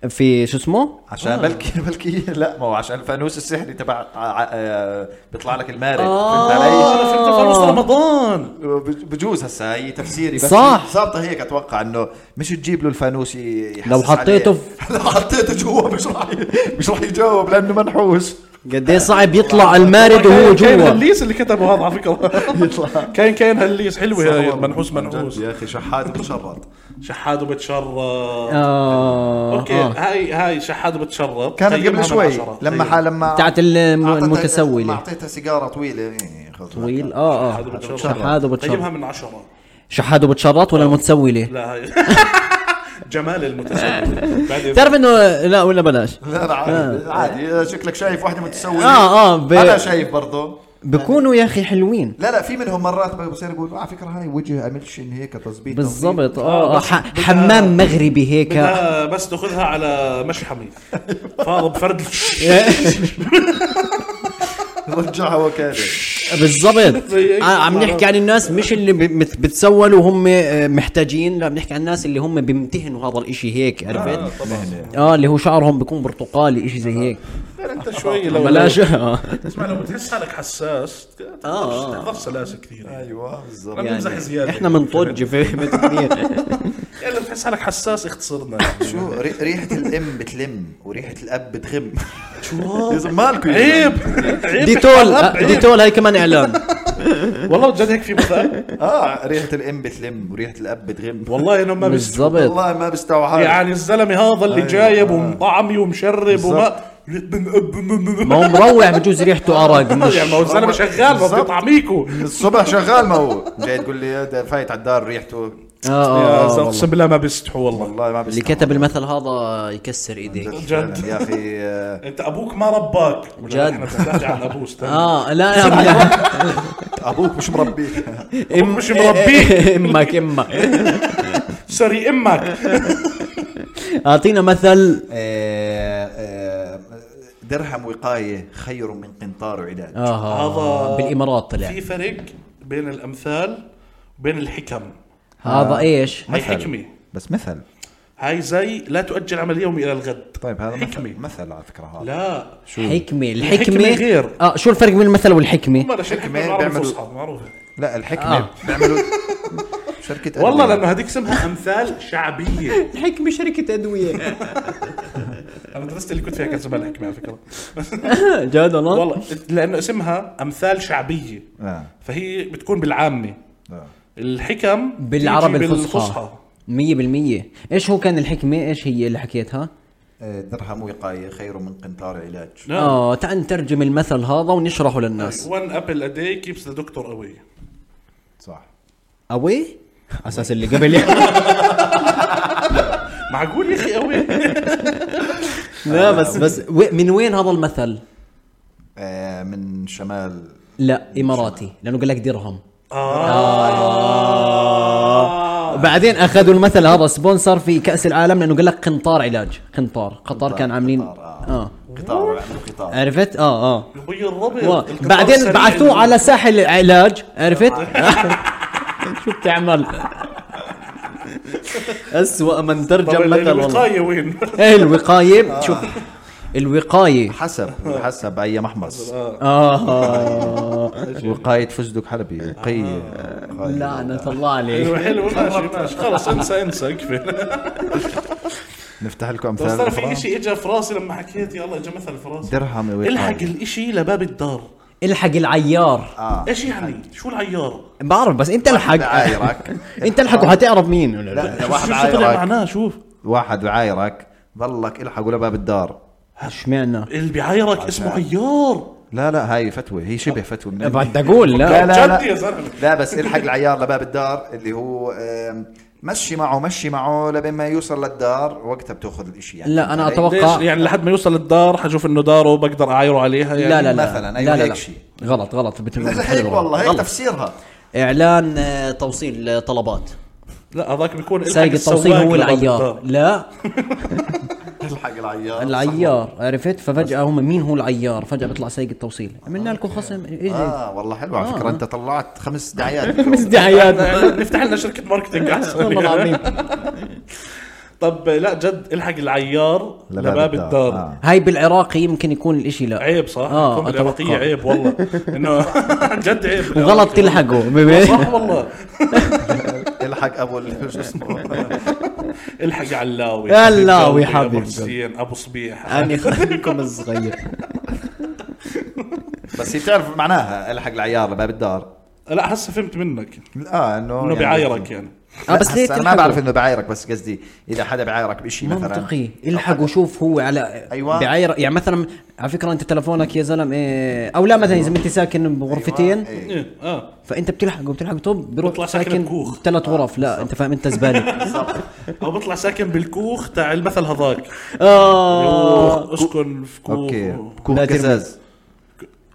A: في شو اسمه؟
C: عشان
B: آه.
C: بلكي بلكي [laughs] لا ما هو عشان الفانوس السحري تبع ع- ع- آه، بيطلع لك المارد
A: آه.
C: فهمت
B: انا
C: علي؟
B: فهمت فانوس رمضان
C: بج- بجوز هسا هي تفسيري بس
A: صح.
C: صابطه هيك اتوقع انه مش تجيب له الفانوس ي- يحسس
A: لو
C: [laughs]
A: حطيته
C: عليه. لو حطيته جوا مش راح ي- مش راح يجاوب لانه منحوس
A: قد ايه صعب يطلع المارد وهو
B: كاين- كاين
A: جوا
B: هليس اللي كتبه هذا على
A: [laughs]
B: فكره كاين كاين هليس حلوه هاي منحوس
C: عن جد
B: منحوس
C: يا اخي شحات بتشرط
B: شحاد وبتشرط
A: آه
B: اوكي
A: آه.
B: هاي هاي شحاد وبتشرط
C: كانت
B: قيمها
C: قبل
B: من
C: شوي
B: عشرة.
C: لما
B: طيب.
C: ح- لما
A: بتاعت الم-
C: أعطتها- لما
A: المتسولة
C: اعطيتها سيجاره طويله إيه، خذ
A: طويل اه
B: شحاد
A: اه
B: وبتشرط. طيب،
A: شحاد
B: قيمها
A: وبتشرط
B: من عشرة
A: شحاد وبتشرط ولا المتسولة؟
B: لا هاي جمال المتسول بعدين
A: بتعرف انه لا ولا بلاش
C: [laughs] لا لا عادي عادي شكلك شايف واحدة متسولة
A: آه، آه، ب-
C: أنا شايف برضه
A: بكونوا يا اخي حلوين
C: لا لا في منهم مرات بصير يقولوا على فكرة هاي وجه أملشن هيك تظبيط
A: بالضبط
B: آه،
A: اه آه،
B: بس
A: ح-
B: بدها-
A: حمام مغربي هيك
B: بدها بس تاخذها على مشحمي فاض بفرد
C: تظبيط. [laughs] رجعها وكالة
A: [laughs] [laughs]
C: [laughs]
A: بالضبط
B: زي هيك.
A: ع- عم نحكي عن الناس مش اللي ب- مت- بتسولوا هم آه، محتاجين لا بنحكي عن الناس اللي هم بيمتهنوا هذا الاشي هيك عرفت
B: طبعا
A: اه اللي هو شعرهم بيكون برتقالي اشي زي هيك
B: انت شوي لو
A: بلاش
B: اسمع لو بتحس حالك حساس
A: آه.
B: تحضر سلاسه كثير يعني
C: أيوة بالضبط
B: يعني بنمزح زياده
A: احنا بنطج فهمت [laughs] كثير
B: يعني لو بتحس حالك حساس اختصرنا
C: شو ري- ريحة الأم بتلم وريحة الأب بتغم
B: شو
C: [laughs] يا زلمة مالكم يا
B: عيب عيب
A: ديتول
B: بالحلب،
A: آه، [laughs]
B: عيب.
A: ديتول هاي كمان اعلان
B: والله جد هيك في مثال
C: زلمة؟ آه ريحة الأم بتلم وريحة الأب بتغم
B: والله انه ما بس
A: بالضبط
C: والله ما بستوعب
B: يعني الزلمه هذا اللي
C: أيوة.
B: جايب ومطعمي ومشرب وما
A: ما هو مروع بجوز ريحته ارق [laughs] مش
B: [laughs] يعني ما هو الزلمه شغال ما
C: بالظبط.
B: بيطعميكو
C: من الصبح شغال ما هو جاي تقول لي ده فايت على الدار ريحته
A: آه، آه،
B: يا
A: آه،
B: زلمة،
A: والله.
B: اقسم بالله ما بيستحوا والله
C: والله ما
A: اللي
C: بستوعب [laughs]
A: كتب المثل هذا يكسر ايديك
B: جد.
C: يا أخي آه،
B: انت ابوك ما رباك ولا
A: جد.
B: احنا بنحكي عن
A: [laughs]
B: ابوه استنى
A: اه لا لا
C: أبوك
A: [laughs]
C: مش [laughs] مربيك
B: أم- مش مربيه.
A: امك امك
B: سوري امك
A: اعطينا مثل
C: آه، درهم وقاية خير من قنطار وعلاج
A: اه
B: هذا-
A: بالامارات طلع
B: في فرق بين الامثال وبين الحكم
A: هذا ايش؟
B: هاي حكمه
C: بس مثل
B: هاي زي لا تؤجل عمل يومي الى الغد
C: طيب هذا
B: حكمة.
C: مثل مثل على فكرة هذا
B: لا
A: حكمة
B: الحكمة
A: الحكمة
B: غير.
A: اه شو الفرق بين المثل والحكمة؟
B: ما شركه
C: حكمة
B: بالعربي
C: بيعملوا-
B: الفصحى معروفه
C: لا الحكمة [laughs]
A: آه.
C: بيعملوا شركة
B: والله
C: أدوية.
B: لانه هذيك اسمها امثال شعبيه
A: الحكمة شركة [laughs] أدوية
B: انا درست اللي كنت فيها كان اسمها الحكمه على فكره
A: جد والله؟
B: والله لانه اسمها امثال شعبيه
C: آه.
B: فهي بتكون بالعامه
C: آه.
B: الحكم
A: بالعربي
B: بتيجي
A: الفصحى 100% ايش هو كان الحكمة؟ ايش هي اللي حكيتها؟
C: آه، درهم وقاية خير من قنطار علاج
B: لا
A: اه تعال نترجم المثل هذا ونشرحه للناس
B: وان ابل ا داي كيبس ذا دكتور اوي
C: صح
A: اوي؟ اساس اللي قبل
B: معقول
A: [laughs]
B: يا اخي اوي
A: [laughs] لا بس آه، بس و- من وين هذا المثل؟
C: آه، من شمال
A: لا اماراتي لانه قال لك درهم
B: آه.
A: بعدين اخذوا المثل هذا سبونسر في كاس العالم لانه قال لك قنطار علاج قنطار قطار كان عاملين
C: قطار، آه.
A: اه
C: قطار عملوا قطار
A: عرفت اه اه
B: يبيض الربيض
A: و-
B: القطار
A: بعدين
B: السريع
A: بعثوه
B: اللي-
A: على ساحل العلاج عرفت
C: آه.
A: [laughs] شو بتعمل [laughs] أسوأ من
B: طب
A: ترجم مثل والله
B: الوقايه وين؟
A: ايه
C: آه.
A: الوقايه شوف الوقايه
C: حسب حسب أي
B: آه.
C: محمص
A: اه
C: وقاية فزدق حلبي وقية
B: آه.
C: لا
A: لعنة الله عليك
B: [laughs] حلو حلو ماشي
A: [laughs]
B: ماشي خلص انسى انسى اكفي
C: نفتح لكم
B: بس
C: أمثال
B: ترى في
C: أخرى.
B: اشي اجى في راسي لما حكيت يلا اجى مثل في راسي
C: درهم وقاية
B: الحق الاشي لباب الدار
A: الحق العيار
C: اه
B: ايش يعني؟ شو العيار؟
A: بعرف بس انت
C: واحد
A: الحق [laughs]
C: بعايرك.
A: انت الحق وحتعرف مين
C: لا.
B: شو
C: واحد
B: شو
C: عايرك.
B: طلع معناه شوف
D: واحد بعايرك ضلك الحقه لباب الدار
A: اشمعنى
B: اللي بعايرك اسمه عيار
D: لا لا هاي فتوى هي شبه فتوى من
A: بدي اقول
D: لا
A: لا
D: لا
B: جد يا زلمة.
D: لا,
C: لا بس الحق العيار لباب الدار اللي هو آم، مشي معه مشي معه لبين ما يوصل للدار وقتها بتاخذ الاشي يعني
A: لا انا
C: علي؟
B: ليش
A: اتوقع
B: يعني لحد ما يوصل للدار حشوف انه داره بقدر اعايره عليها يعني
A: لا لا لا
C: مثلاً، أيوة
A: لا لا
C: هيك
A: لا.
C: شيء.
A: غلط
C: [laughs]
A: غلط بت-
C: هيك
A: غلط.
C: إيه. والله هيك
A: غلط.
C: تفسيرها
A: اعلان آه، توصيل آه، طلبات
B: لا هذاك بيكون إلحق
A: سايق التوصيل
B: السواق
A: هو
B: لباب
A: العيار
B: الدار. [laughs]
A: لا
C: الحق العيار
A: العيار عرفت ففجاه هم مين هو العيار فجاه بيطلع سايق التوصيل عملنا لكم خصم
C: صح.
A: إيه.
C: اه والله حلو على فكره
A: آه.
C: انت طلعت خمس دعايات
B: [laughs]
A: دعايات
B: نفتح لنا شركه ماركتينج
A: [laughs]
B: احسن [laughs]
A: والله العظيم
B: طب لا جد الحق العيار
D: لباب
B: لباب
D: الدار.
B: الدار
D: آه.
A: هاي بالعراقي يمكن يكون الاشي لا
B: عيب صح؟
A: آه،
B: الكوميدي
A: أتوقع.
B: العراقية عيب والله انه [laughs] جد عيب
A: وغلط تلحقه [laughs]
B: صح والله
C: الحق ابو ال- شو اسمه
B: الحق علاوي
A: علاوي
B: أبو
A: حبيب
B: حسين ابو صبيح
A: اني خليكم
B: [laughs]
A: الصغير
C: بس هي بتعرف معناها الحق العيار لباب الدار
B: لا هسه فهمت منك
C: اه انه
B: انه
C: يعني-
B: بعايرك يعني
A: اه
C: لا،
A: بس ليه
C: هسا انا ما
A: تلحقوا؟
C: بعرف انه بعايرك بس قصدي اذا حدا بعايرك بشيء مثلا
A: منطقي الحق وشوف هو على
C: أيوة.
A: بعير يعني مثلا على فكره انت تلفونك يا زلمه إيه او لا مثلا اذا انت ساكن بغرفتين
C: أيوة.
B: إيه، اه
A: فانت بتلحق وبتلحق طب
B: بطلع
A: بروح
B: ساكن
A: ساكن
B: بكوخ.
A: ثلاث غرف لا انت فاهم انت [laughs] زباله
B: او بطلع ساكن بالكوخ تاع المثل هذاك
A: اه
B: يروح اسكن في كوخ
D: اوكي كوخ
A: لا ترمي.
D: قزاز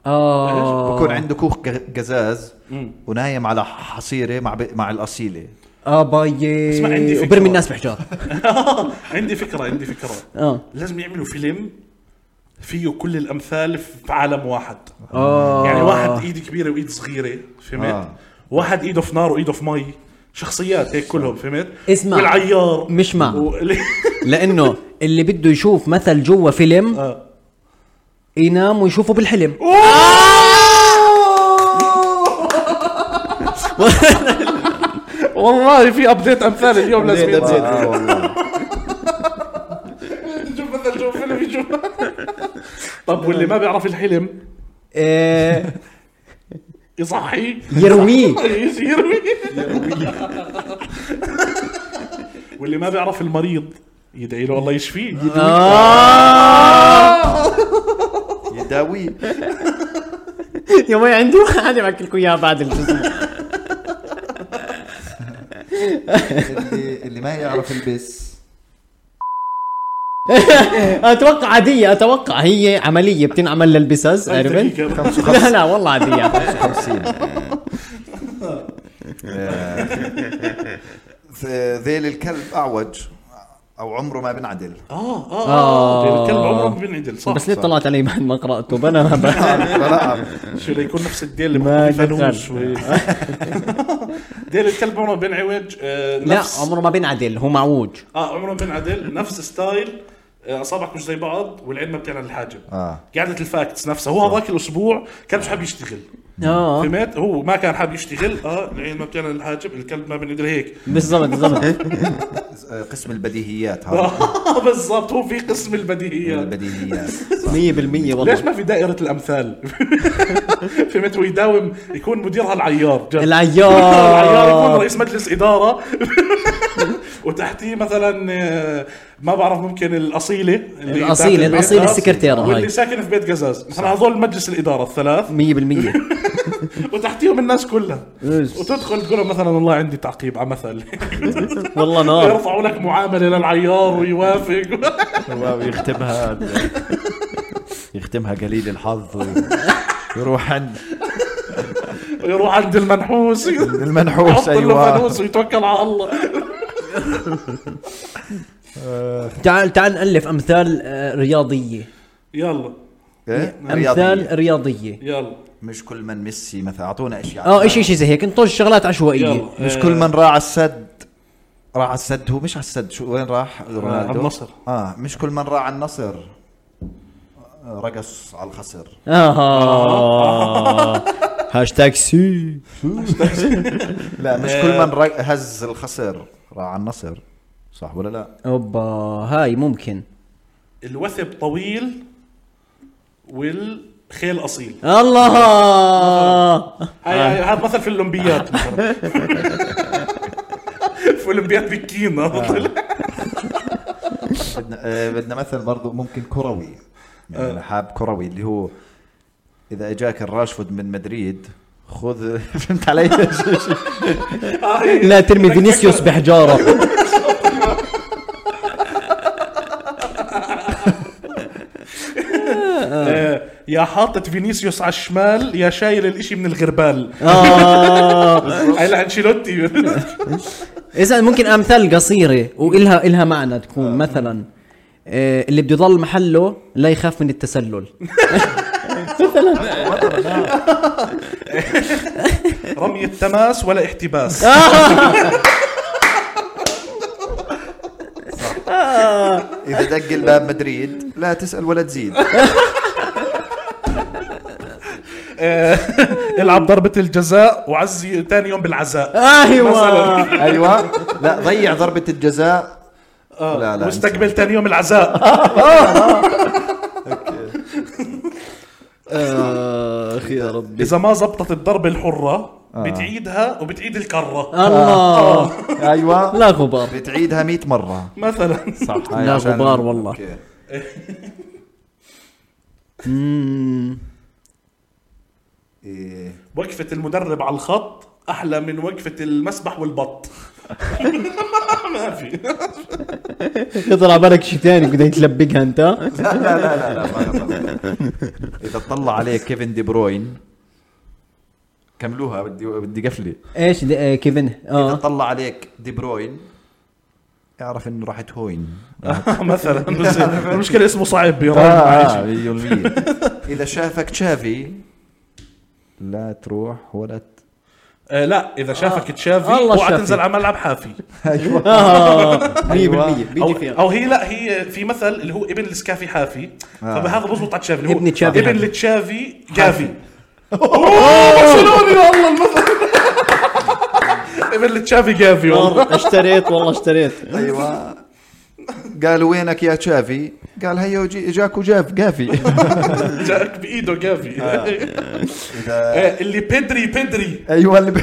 A: اه
D: بكون عنده كوخ ق- قزاز
B: مم.
D: ونايم على حصيره مع ب... مع الاصيله
A: اه باي
B: اسمع، عندي فكرة.
A: وبرمي الناس [laughs] بحجار
B: [laughs] عندي فكره عندي فكره
A: اه
B: لازم يعملوا فيلم فيه كل الامثال في عالم واحد
A: اه
B: يعني واحد ايد كبيره وايد صغيره فهمت
D: آه.
B: واحد ايده في نار وايده في مي شخصيات هيك كلهم فهمت
A: اسمع.
B: والعيار
A: مش مع.
B: [laughs] وال-
A: لانه اللي بده يشوف مثل جوا فيلم
B: آه.
A: ينام ويشوفه بالحلم
B: والله في ابديت امثال اليوم لازم ينزل
D: آه، والله.
B: [laughs] شوف مثلا شوف فيلم يشوف طب واللي ما بيعرف الحلم
A: إيه،
B: يصحي
A: يرويه
B: [laughs] يروي واللي ما بيعرف المريض يدعي له الله يشفيه
C: يداوي
A: [laughs] يا وي عندي واحد بحكي لكم اياها بعد الجزء [laughs]
C: اللي, اللي ما يعرف يلبس
A: اتوقع عاديه اتوقع هي عمليه بتنعمل للبسس عرفت؟ لا لا والله [laughs] عاديه
C: 50 ذيل الكلب اعوج او عمره ما
A: [laughs]
C: بنعدل
B: اه اه اه الكلب عمره بينعدل صح
A: آه. بس ليه
B: صح.
A: طلعت علي بعد ما قراته انا ما بعرف.
B: شو ليكون نفس الديل اللي
A: [laughs] ما
B: محطوط فيه
A: دخل.
B: فانوس و- ديل الكلب عمره بينعوج آه،
A: لا
B: نفس
A: عمره ما بينعدل هو معوج
B: اه عمره بينعدل نفس ستايل آه، اصابعك مش زي بعض والعين ما بتعلن الحاجب
D: آه.
B: قعده الفاكتس نفسها هو هذاك الاسبوع كان مش حابب يشتغل
A: اه
B: فهمت هو ما كان حابب يشتغل اه العين ما بتعلن الحاجب الكلب ما بينعدل هيك
A: بالضبط بالضبط [laughs]
C: آه، قسم البديهيات
B: [laughs]
C: هذا
B: بالضبط هو في قسم البديهيات
C: البديهيات
A: 100% والله
B: ليش ما في دائرة الأمثال؟ [laughs] فهمت ويداوم يكون مديرها العيار جد. العيار يكون
A: العيار
B: رئيس مجلس اداره [laughs] وتحتيه مثلا آه، ما بعرف ممكن الاصيله اللي
A: الأصيلة،
B: تحت البيت.
A: الأصيلة
B: آه،
A: السكرتيرة هاي.
B: واللي ساكن في بيت قزاز مثلا هذول مجلس الاداره الثلاث [laughs]
A: 100%
B: وتحتيهم الناس كلها
A: إيش.
B: وتدخل تقول لهم مثلا والله عندي تعقيب على مثل
A: والله نار
B: [laughs] يرفعوا لك معامله للعيار ويوافق [laughs]
D: ويختمها [laughs] يختمها قليل الحظ ويروح عند
B: ويروح عند
A: [laughs]
B: المنحوس
D: المنحوس
B: يحط
A: أيوة.
B: له
D: ايوه
B: فانوس ويتوكل على الله
A: تعال تعال نالف امثال آه، رياضيه
B: يلا
C: إيه؟ رياضية.
A: امثال رياضيه
B: يلا
C: مش كل من ميسي مثلا اعطونا اشياء
D: آه،
A: اه شيء شيء زي هيك نطش شغلات عشوائيه
B: يلا
D: مش
B: آه،
D: كل من راعى السد
C: راح على السد هو مش على السد شو وين راح رونالدو
B: على النصر.
C: اه مش كل من راح على النصر آه، رقص على الخصر
A: اه
B: [laughs]
A: هاشتاج سي
C: لا مش
B: آه.
C: كل من رق- هز الخصر راح على النصر صح ولا لا
A: اوبا هاي ممكن
B: الوثب طويل وال خيل اصيل
A: الله
B: هاي هاي- هذا مثل في [laughs] الاولمبياد مثلا. في اولمبياد بكينا [laughs] طلع
E: بدنا
C: آه، بدنا مثل برضو ممكن كروي يعني انا حاب كروي اللي هو اذا اجاك الراشفورد من مدريد خذ [laughs] فهمت علي
A: لا ترمي فينيسيوس [laughs] بحجاره
B: آه، يا حاطط فينيسيوس على الشمال يا شايل الاشي من الغربال
A: آه. اه
B: هاي
A: [laughs]
B: لانشيلوتي
A: اذا ممكن امثال قصيره والها الها معنى تكون مثلا آه، اللي بده يضل محله لا يخاف من التسلل
B: رمي التماس ولا احتباس
A: آه.
C: اذا دق الباب مدريد لا تسال ولا تزيد
B: آه، العب ضربة الجزاء وعزي تاني يوم بالعزاء
A: ايوه
B: مثلا.
C: ايوه لا ضيع ضربه الجزاء
B: آه،
C: لا، لا،
B: مستقبل تاني يوم العزاء
A: اخ آه، يا ربي
B: اذا ما زبطت الضربة الحرة
A: آه.
B: بتعيدها وبتعيد الكرة
A: الله
C: ايوه
A: لا غبار
C: بتعيدها 100 مره
A: [laughs]
B: مثلا
C: صح هاي
A: لا
C: عشان-
A: غبار والله.
C: أوكي.
A: مم.
C: إيه.
B: وقفة المدرب على الخط احلى من وقفة المسبح والبط [laughs] ما في
A: يطلع بالك شيء ثاني بدها تلبقها انت
C: لا لا لا لا, لا ما خطر. اذا طلع عليك كيفن دي بروين كملوها بدي بدي قفله
A: ايش ده- آه، كيفن
C: اذا
A: اه
C: طلع عليك دي بروين اعرف انه راح تهوين
A: آه.
B: مثلا [laughs] بس المشكلة اسمه صعب يا رجل معلش.
C: آه، مليون [laughs] مية. اذا شافك تشافي لا تروح ولا ت...
B: آه، لا اذا شافك تشافي
A: الله
B: اوعى
A: شافي.
B: تنزل على ملعب حافي
A: آه، 100%
B: أو,
A: بيجي فيها
B: او هي لا هي في مثل اللي هو ابن السكافي حافي فهذا بزبط على تشافي اللي هو
A: آه. ابن تشافي
B: ابن
A: حافي.
B: لتشافي جافي [laughs] أوه، برشلوني والله المثل ابن لتشافي جافي والله
A: اشتريت والله اشتريت
C: ايوه قالوا وينك يا تشافي قال هيا وجي اجاك وجاف قافي
A: آه.
B: جاك بايده جافي
C: [laughs]
B: [laughs] آه، اللي بدري بدري
C: ايوه اللي ب... [laughs]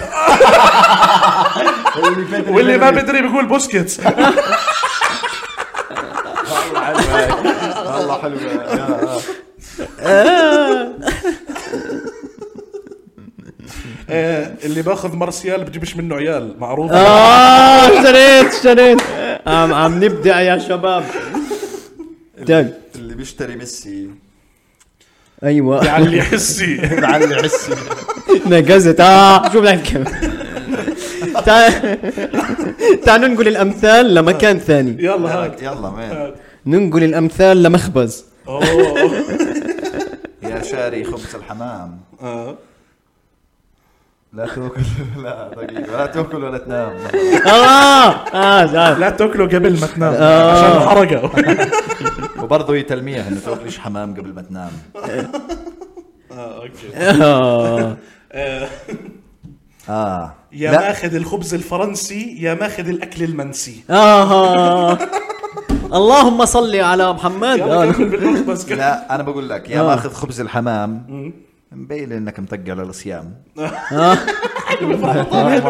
C: اللي بدري-
B: واللي ما بدري بيقول بوسكيتس [laughs]
C: والله حلوه والله حلوه
B: آه، اللي باخذ مارسيال بجيبش منه عيال معروف
A: اه اشتريت اشتريت عم عم نبدع يا شباب طيب
C: اللي بيشتري ميسي
A: ايوه [laughs]
B: على يعني اللي يحسي
C: معلي عسي
A: نقزت اه شو بدك تكمل تعالوا ننقل الامثال لمكان ثاني
B: يلا [laughs] هاك
C: يلا مان
A: ننقل الامثال لمخبز
B: اوه
C: يا شاري خبز الحمام
B: آه.
C: لا تاكل لا دقيقه لا تاكل ولا تنام
A: اه اه تعال.
B: لا تاكله قبل ما تنام
A: آه.
B: عشان الحرقه
C: [laughs] وبرضه هي تلميح انه تاكلش حمام قبل ما تنام
B: آه، أوكي.
A: آه.
B: آه،
C: اه
B: يا
C: لا
B: ماخذ الخبز الفرنسي يا ماخذ
A: [laughs]
B: الاكل المنسي
A: آه اللهم صل على محمد
B: يلا
A: آه.
B: كمل بالمخبز كمل.
C: لا انا بقول لك يا
A: آه.
C: ماخذ خبز الحمام مبين انك مطقع للصيام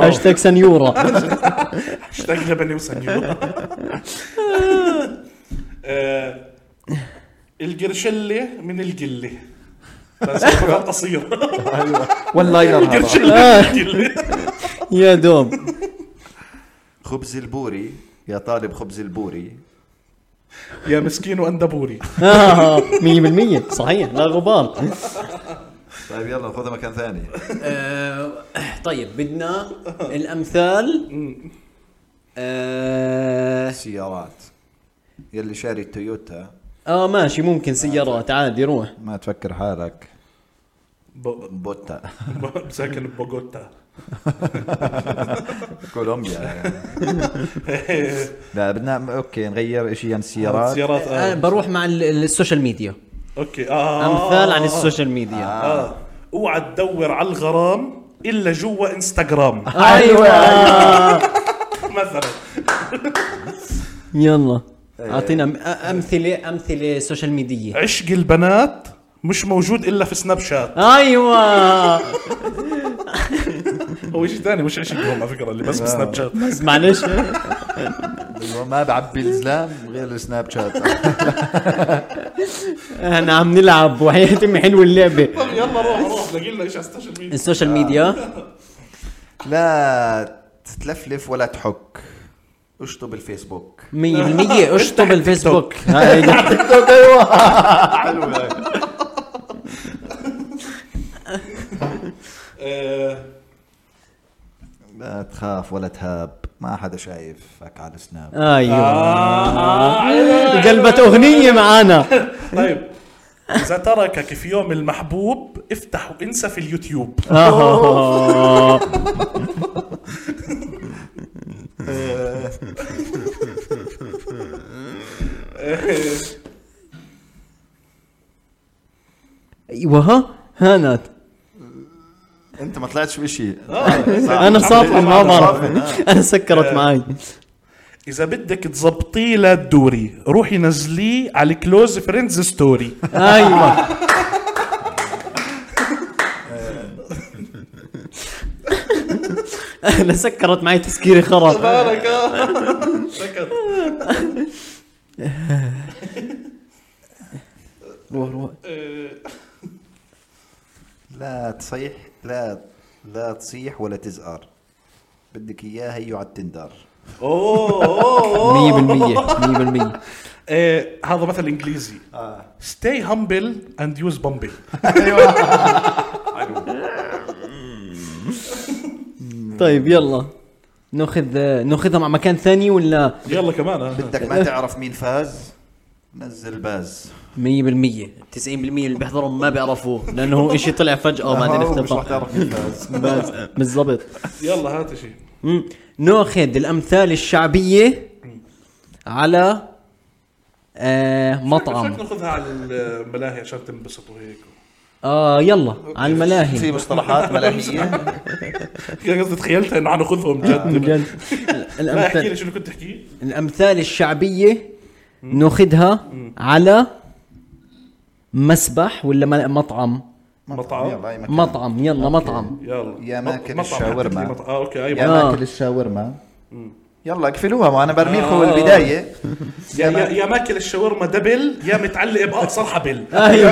A: هاشتاج سنيورة
B: اشتاق لبني وسنيور آه، القرشلة من القلة بس فقط قصير
C: واللاينر هذا
B: القرشلة من القلة
A: آه، يا دوب
C: خبز البوري يا طالب خبز البوري
B: يا مسكين واندبوري
A: آه 100% صحيح لا غبار
C: طيب يلا خذها مكان ثاني
A: آه، [clears throat] طيب [laughs] بدنا الأمثال آه،
C: سيارات يلي شاري التويوتا
A: اه ماشي ممكن سيارات عادي روح
C: ما تفكر حالك
B: ب-
C: بوتا [laughs]
B: ب- [laughs] ساكن [laughs] ببوغوتا
C: كولومبيا يعني. لا بدنا اوكي نغير شيء عن السيارات
B: سيارات
A: آه،
B: آه.
A: بروح مع ال- ال- السوشيال ميديا
B: اوكي اه
A: أمثال عن السوشيال ميديا
B: اه اوعى تدور على الغرام الا جوا [laughs] انستغرام
A: آه، أيوة
B: مثلا
A: إيه. يلا أعطينا أم- أمثلة أمثلة سوشيال ميديا
B: عشق البنات مش موجود الا في سناب شات
A: ايوه
B: هو شيء ثاني مش عشقهم على فكره اللي بس بسناب شات
A: بس معلش
D: ما بعبي الزلام غير السناب شات
A: احنا عم نلعب وحياة امي حلوه اللعبه
B: طب يلا روح [laughs] روح لاقي لنا شيء على السوشيال ميديا
A: السوشيال ميديا
C: [laughs] لا تتلفلف ولا تحك اشطب الفيسبوك
A: 100% اشطب [laughs] الفيسبوك هاي
B: آه،
C: لا تخاف ولا تهاب ما حدا شايفك على السناب
A: أيوة. ايوه قلبت اغنيه معانا
B: طيب اذا تركك في يوم المحبوب افتح وانسى في اليوتيوب
A: آه. ايوه ها هانت
D: انت ما طلعتش بشيء
C: آه،
A: انا صافي ما بعرف
D: صافي.
A: انا سكرت معي
B: اذا بدك تزبطيه لا تدوري روحي نزليه على الكلوز فريندز ستوري
A: ايوه انا سكرت معي تسكيري خرا
B: مالك [laughs] سكت
A: روح روح
C: لا تصيح لا لا تصيح ولا تزقر بدك اياه هيو على التندر
B: اوه اوه
A: 100% 100%
B: آه، هذا مثل انجليزي stay humble and use bumble
A: طيب يلا ناخذ ناخذها مع مكان ثاني ولا 100%
B: يلا كمان آه.
C: بدك ما تعرف مين فاز نزل باز
A: 90% اللي بيحضروا ما بيعرفوه لانه هو شيء طلع فجأة وبعدين
C: هو مش رح
A: اختفى
C: تعرف مين فاز
A: بس بالضبط
B: يلا هات شيء
A: مم. ناخذ الامثال الشعبيه على آه مطعم
B: ناخذها على الملاهي عشان تنبسطوا هيك
A: اه يلا على
C: في
A: الملاهي
C: مصطلحات ملاهيه
B: يعني قصدي تخيلتها انه حناخذهم جد
A: جد
B: آه. لا احكي لي
A: الامثال
B: شنو كنت تحكي
A: الامثال الشعبيه ناخذها على مسبح ولا م- مطعم
B: مطعم.
C: يلا، أي
A: طيب.
C: مكان.
A: مطعم يلا مطعم
B: يلا
C: يا ماكل
B: مطعم،
C: الشاورما.
B: حكيت لي مطعم. اه اوكي
C: يا
B: ايوه
A: آه.
C: ماكل الشاورما يلا اقفلوها ما انا برمي لكم البدايه
B: يا, يا, يا ماكل الشاورما دبل يا متعلق باقصر حبل
A: ايوه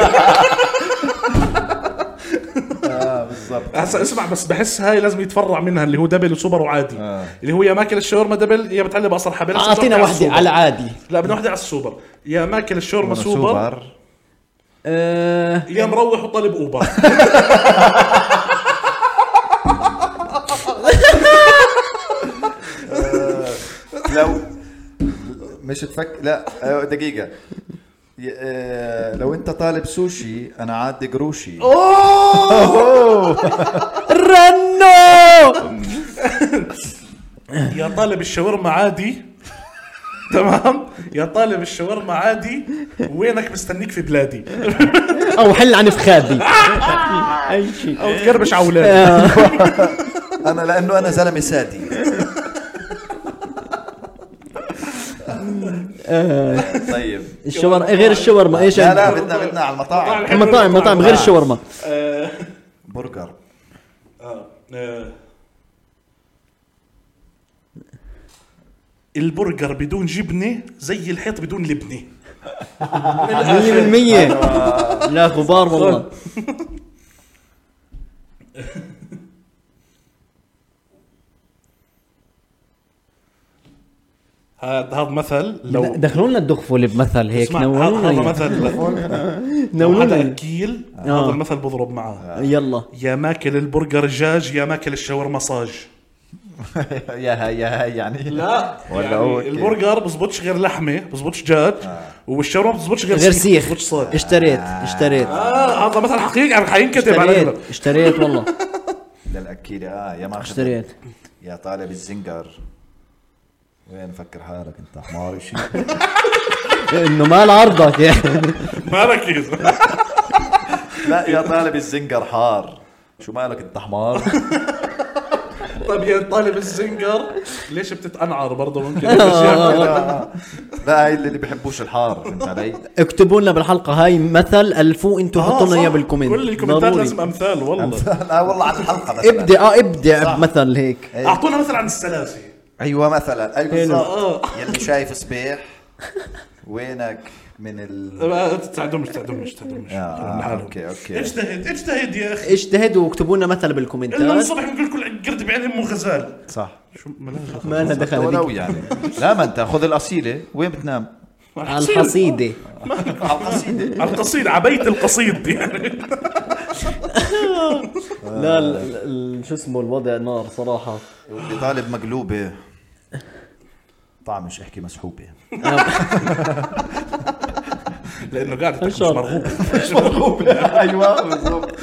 B: هسا اسمع بس بحس هاي لازم يتفرع منها اللي هو دبل وسوبر وعادي آه. اللي هو يا ماكل الشاورما دبل يا متعلق باقصر حبل هسا
A: اعطينا
B: بدنا
A: واحده
B: السوبر.
A: على عادي
B: لا بدنا واحده على السوبر يا ماكل الشاورما سوبر
A: آه
B: يا مروح وطالب اوبر
C: لو مش تفك لا أيوة، دقيقه ي- آه، لو انت طالب سوشي انا عاد قروشي
A: رنو
B: يا طالب الشاورما عادي تمام يا طالب الشاورما عادي وينك مستنيك في بلادي
A: او حل عن فخادي اي شيء
B: او تقربش على اولادي
A: آه.
C: انا لانه انا زلمه سادي طيب
A: الشاورما غير الشاورما ايش
C: لا
A: عندك؟
C: لا بدنا بدنا على المطاعم
A: مطاعم مطاعم غير الشاورما
B: آه،
C: برجر [laughs]
B: آه، آه. البرجر بدون جبنه زي الحيط بدون لبنه أيوة.
A: 100% لا غبار والله
B: هذا هذا مثل لو
A: دخلوا لنا الدغفل بمثل هيك
B: اسمع هذا هذا
A: نولونا
B: مثل لو هذا
A: نولونا
B: اكيل
A: آه.
B: هذا المثل بضرب معاه
A: يلا
B: يا ماكل البرجر جاج يا ماكل الشاورما صاج
D: يا هاي يا هاي يعني
B: لا
D: ولا
B: يعني
D: هو كيف؟
B: البرجر بزبطش غير لحمه بزبطش دجاج
C: آه.
B: والشاورما بزبطش غير,
A: غير سيخ
B: بزبطش صاج
A: اشتريت اشتريت
B: آه هذا مثلا حقيقي عم حينكتب على
A: اشتريت
B: الأغلب.
A: اشتريت والله
C: للاكيله اه يا ما
A: اشتريت
C: يا طالب الزنجر وين فكر حالك انت حمار شيء
A: انه مال عرضك يعني
B: [laughs] ما ركز
C: لا يا طالب الزنجر حار شو مالك انت حمار
B: [laughs] طيب يا طالب الزنجر ليش بتتقنعر برضه [laughs] ممكن
A: آه،
C: [laughs]
B: الأشياء-
C: لا هاي اللي بيحبوش الحار فهمت علي؟
A: [laughs] اكتبوا لنا بالحلقه هاي مثل الفوا انتوا
B: آه،
A: حطوا لنا
B: صح.
A: اياه بالكومنت
B: كل الكومنتات
A: ضروري.
B: لازم امثال والله
C: [laughs] لا والله على الحلقه مثلا
A: ابدع اه ابدع بمثل هيك
C: إيه.
B: اعطونا مثلا عن السلاسل
C: ايوه مثلا اي بالضبط
B: آه.
C: يلي شايف صبيح وينك من ال
B: ما تعدمش تعدمش تعدمش
C: آه،
B: لحالهم.
C: اوكي اوكي
B: اجتهد اجتهد يا اخي
A: اجتهدوا واكتبوا لنا مثل
B: الا من
A: بالكومنتات
B: الصبح بنقول كل قرد بعين امه غزال
C: صح
B: شو ملاها
A: ما لنا دخل
C: ولو
A: هذيك.
C: يعني لا ما انت خذ الاصيله وين [laughs] بتنام؟
A: على الحصيده
C: على القصيده
B: على القصيد عبيت القصيد يعني
A: لا ال- ال- شو اسمه الوضع نار صراحه
C: اللي طالب مقلوبه طعمش احكي مسحوبه
B: لانه
A: إن
B: قاعد تحكي مش
A: شاء الله.
C: [laughs]
B: مرغوب
C: ايوه بالضبط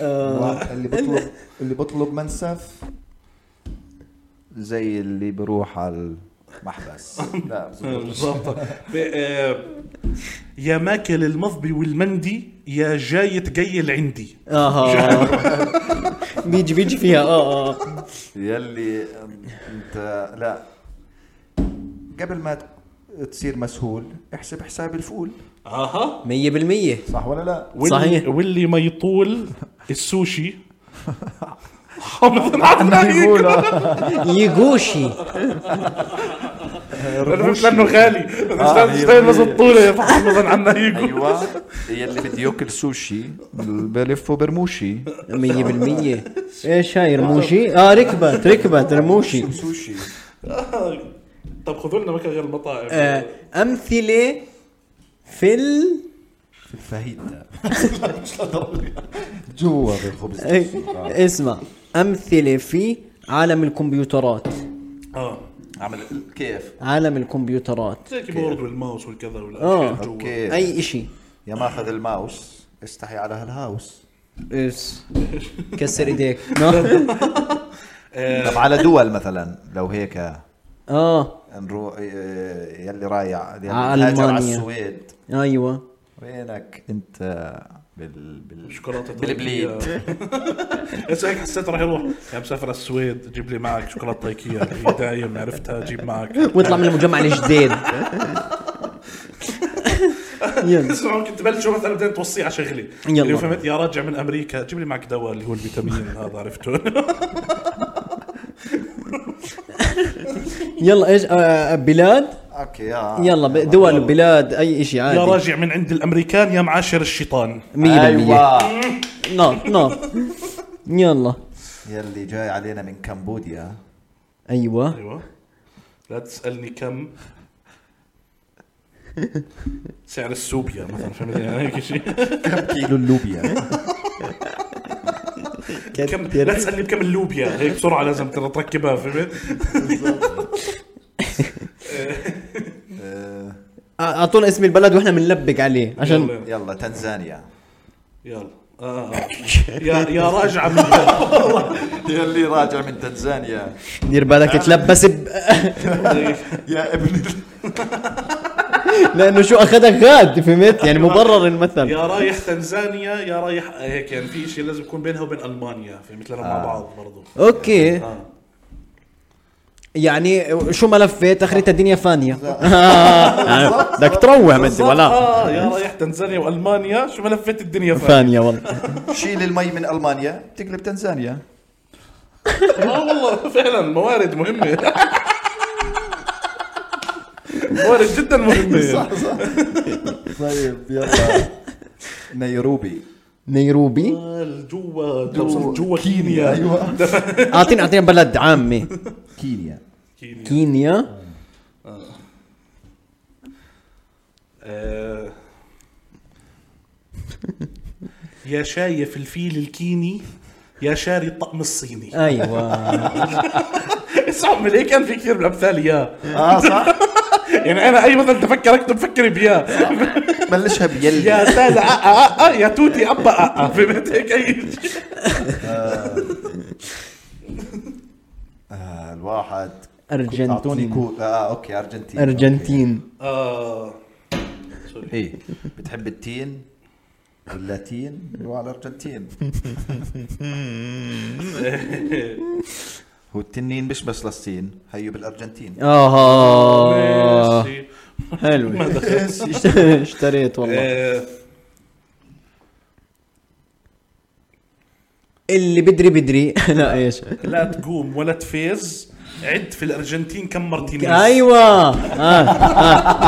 C: اللي بطلب اللي بطلب منسف زي اللي بروح على [laughs] المحبس لا بالضبط.
B: بالضبط ب- آه، يا ماكل المضبي والمندي يا جاي تقيل عندي
A: اها بيجي بيجي فيها اه اه
C: يلي انت لا قبل ما ت- تصير مسهول احسب حساب الفول
B: اها
A: 100%
C: صح ولا [laughs] لا
B: واللي
A: صحيح.
B: واللي ما يطول
A: [laughs]
B: السوشي حافظ
C: [laughs]
B: عليك
C: أيوة.
A: يغوشي
B: لانه غالي
C: آه،
B: تستاهل بس الطوله حافظا
A: [laughs]
B: عنا يقول
C: ايوه يلي بده ياكل سوشي بلفه برموشي
A: 100% ايش هاي رموشي؟ اه ركبت ركبت رموشي
C: سوشي
B: طب خذوا لنا مكان غير المطاعم
A: آه، امثله في ال
C: فاهيتا جوا بالخبز
A: إيه، اسمع امثله في عالم الكمبيوترات
B: اه
C: عمل كيف
A: عالم الكمبيوترات
B: زي الكيبورد والماوس والكذا والاشياء
A: آه.
B: جوا
C: اوكي
A: اي شيء
C: يا ماخذ الماوس استحي على هالهاوس
A: اس كسر [laughs] ايديك نو؟
C: طب على دول مثلا لو هيك
A: اه
C: نروح إيه، يلي رايع يلي
A: على
C: هاجر على
A: ألمانيا.
C: السويد
A: ايوه
C: وينك انت بال بال
B: شوكولاته
C: بالبليد
A: [laughs]
B: بس هيك إيه، حسيت راح يروح يا مسافر على السويد جيب لي معك شوكولاته
A: [laughs]
B: تايكيه هي دايم عرفتها جيب معك
A: واطلع من المجمع الجديد يلا
B: اسمع ممكن تبلشوا مثلا بعدين توصيه على شغلي
A: يلا.
B: اللي فهمت يا راجع من امريكا جيب لي معك دواء اللي هو
A: [laughs]
B: الفيتامين هذا عرفته
A: يلا ايش آه، بلاد
C: اوكي آه.
A: يلا ب- دول بلاد اي شيء
B: يا
A: عادي
B: راجع من عند الامريكان يا معاشر الشيطان
A: 100%
B: أيوة.
C: ايوه
A: نار نار نعم، يلا
C: يلي جاي علينا من كمبوديا
A: ايوه
B: ايوه لا تسالني كم سعر السوبيا مثلا فهمت يعني هيك شيء
C: [laughs]
A: [laughs]
C: كيلو [laughs] اللوبيا
B: كم لا تسالني بكم اللوبيا هيك بسرعه لازم ترى تركبها فهمت
C: آه،
A: اعطونا اسم البلد واحنا بنلبق عليه عشان
B: يلا.
C: يلا تنزانيا
B: يلا آه. آه. يا يا راجعه من
C: [laughs] يلي راجع من تنزانيا
A: دير بالك تتلبس ب... [laughs]
C: يا ابن
A: لانه شو اخذك غاد فهمت يعني مبرر المثل
B: يا رايح تنزانيا يا رايح هيك يعني في شيء لازم يكون بينها وبين المانيا فهمت لنا مع بعض برضو
A: اوكي
B: آه.
A: يعني شو ملفه تخريطه الدنيا [laughs] فانيه آه، بدك تروح مدي ولا
B: اه يا رايح تنزانيا والمانيا شو ملفت الدنيا فاهم
A: فانيه والله
C: [laughs] شيل المي من المانيا تقلب تنزانيا
B: [laughs] اه والله فعلا موارد مهمه [laughs] موارد جدا مهمه [laughs]
C: طيب يلا [laughs] نيروبي
A: نيروبي
B: آه، جوا جوا- جوا كينيا
C: ايوه
A: اعطينا اعطينا بلد عامه
C: كينيا
B: كينيا
A: كينيا
B: آه. يا شايف الفيل الكيني يا شاري الطقم الصيني
A: ايوه
B: اسمع من هيك آه، كان في كثير من الامثال اياه
C: اه صح
B: يعني انا اي مثل تفكر اكتب فكر بياه
C: بلشها بيلي
B: [laughs] يا آه، تال أ- أ- أ- يا توتي آه، ابا أ- أ. فهمت هيك اي شيء
C: آه، الواحد اعطوني
A: ارجنتين
C: كود اه اوكي ارجنتين
A: ارجنتين
B: اه
C: اي بتحب إيه. التين أيوة، اللاتين وعلى
B: [laughs]
C: الارجنتين هو التنين مش بس للصين هيو
B: [laughs]
C: بالارجنتين
A: اه
B: ميسي.
A: حلو
B: ما دخل
A: [laughs] اشتريت والله
B: آه،
A: اللي بدري بدري [laughs] لا ايش
B: لا تقوم ولا تفيز عد في الارجنتين كم مارتينيز
A: ايوه اه اه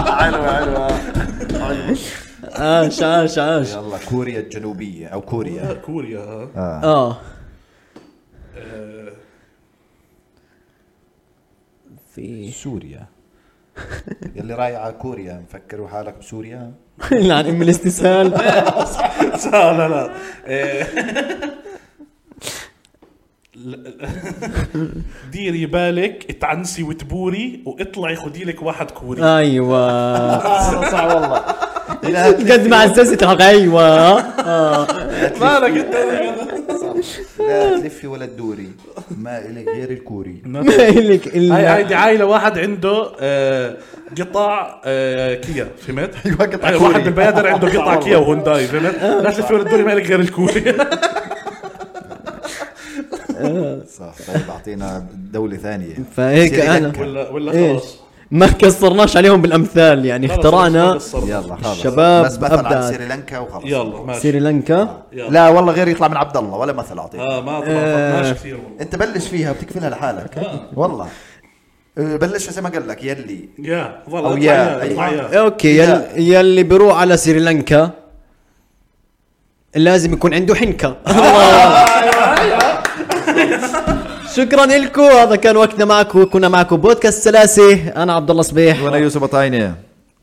A: عاش عاش عاش
C: يلا كوريا الجنوبيه او كوريا
B: آه، كوريا ها.
C: آه.
A: اه
B: آه،
A: في [laughs]
C: سوريا يلي رايح على كوريا مفكروا حالك بسوريا
A: عن ام الاستسهال
B: [laughs] لا لا لا آه، لا- [laughs] ديري بالك تعنسي وتبوري واطلعي خدي لك واحد كوري
C: آه.
B: [laughs]
A: ايوه
C: صح والله
A: [laughs] قد ما عززت الحلقه [laughs] ايوه
B: مالك انت
C: لا تلفي ولا تدوري ما الك غير الكوري [laughs]
A: لك
B: هاي
A: الا
B: هاي عائله واحد عنده آه، قطع آه، كيا فهمت؟
C: [laughs] أيوة، قطع
B: آه،
C: كوري. آه.
B: واحد بالبيادر
C: [laughs]
B: عنده قطع كيا وهونداي فهمت؟ لا تلفي ولا تدوري مالك غير
C: [laughs]
B: الكوري
C: صح طيب اعطينا دوله ثانيه
A: فهيك
C: سيري
A: أنا-
C: دكة.
B: ولا ولا
A: ايش
B: خلاص
A: ما كسرناش عليهم بالامثال يعني
B: خلص،
A: اخترعنا
B: خلص، خلص، خلص.
C: يلا خلص
A: الشباب
C: بس مثل عن
A: أبدعت.
C: سريلانكا وخلص
B: يلا ماشي
A: سريلانكا
B: يلا
C: لا والله غير يطلع من عبد الله ولا مثل اعطيك
B: اه ما
C: آه.
B: طلعناش كثير والله
C: انت بلش فيها بتكفلها لحالك
B: آه.
C: والله أه، بلش زي ما قال لك يلي
B: يا
C: أو
B: والله اطلع
C: يا،
B: يا اطلع
C: أيوة.
B: يا
A: اوكي إيه، يل...
C: لا.
A: يلي بيروح على سريلانكا لازم يكون عنده [laughs] حنكه [laughs] شكرا لكم هذا كان وقتنا معكم كنا معكم بودكاست سلاسي انا عبد الله صبيح
C: وانا يوسف بطاينه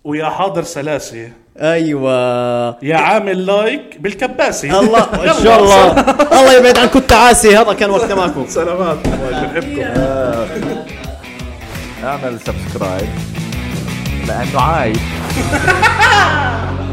B: ويا حاضر سلاسه
A: ايوه
B: يا عامل لايك بالكباسه [laughs]
A: الله ان شاء الله [laughs] الله يبعد عنكم التعاسي هذا كان وقتنا معكم
B: سلامات الله بنحبكم
C: اعمل سبسكرايب لانه عايد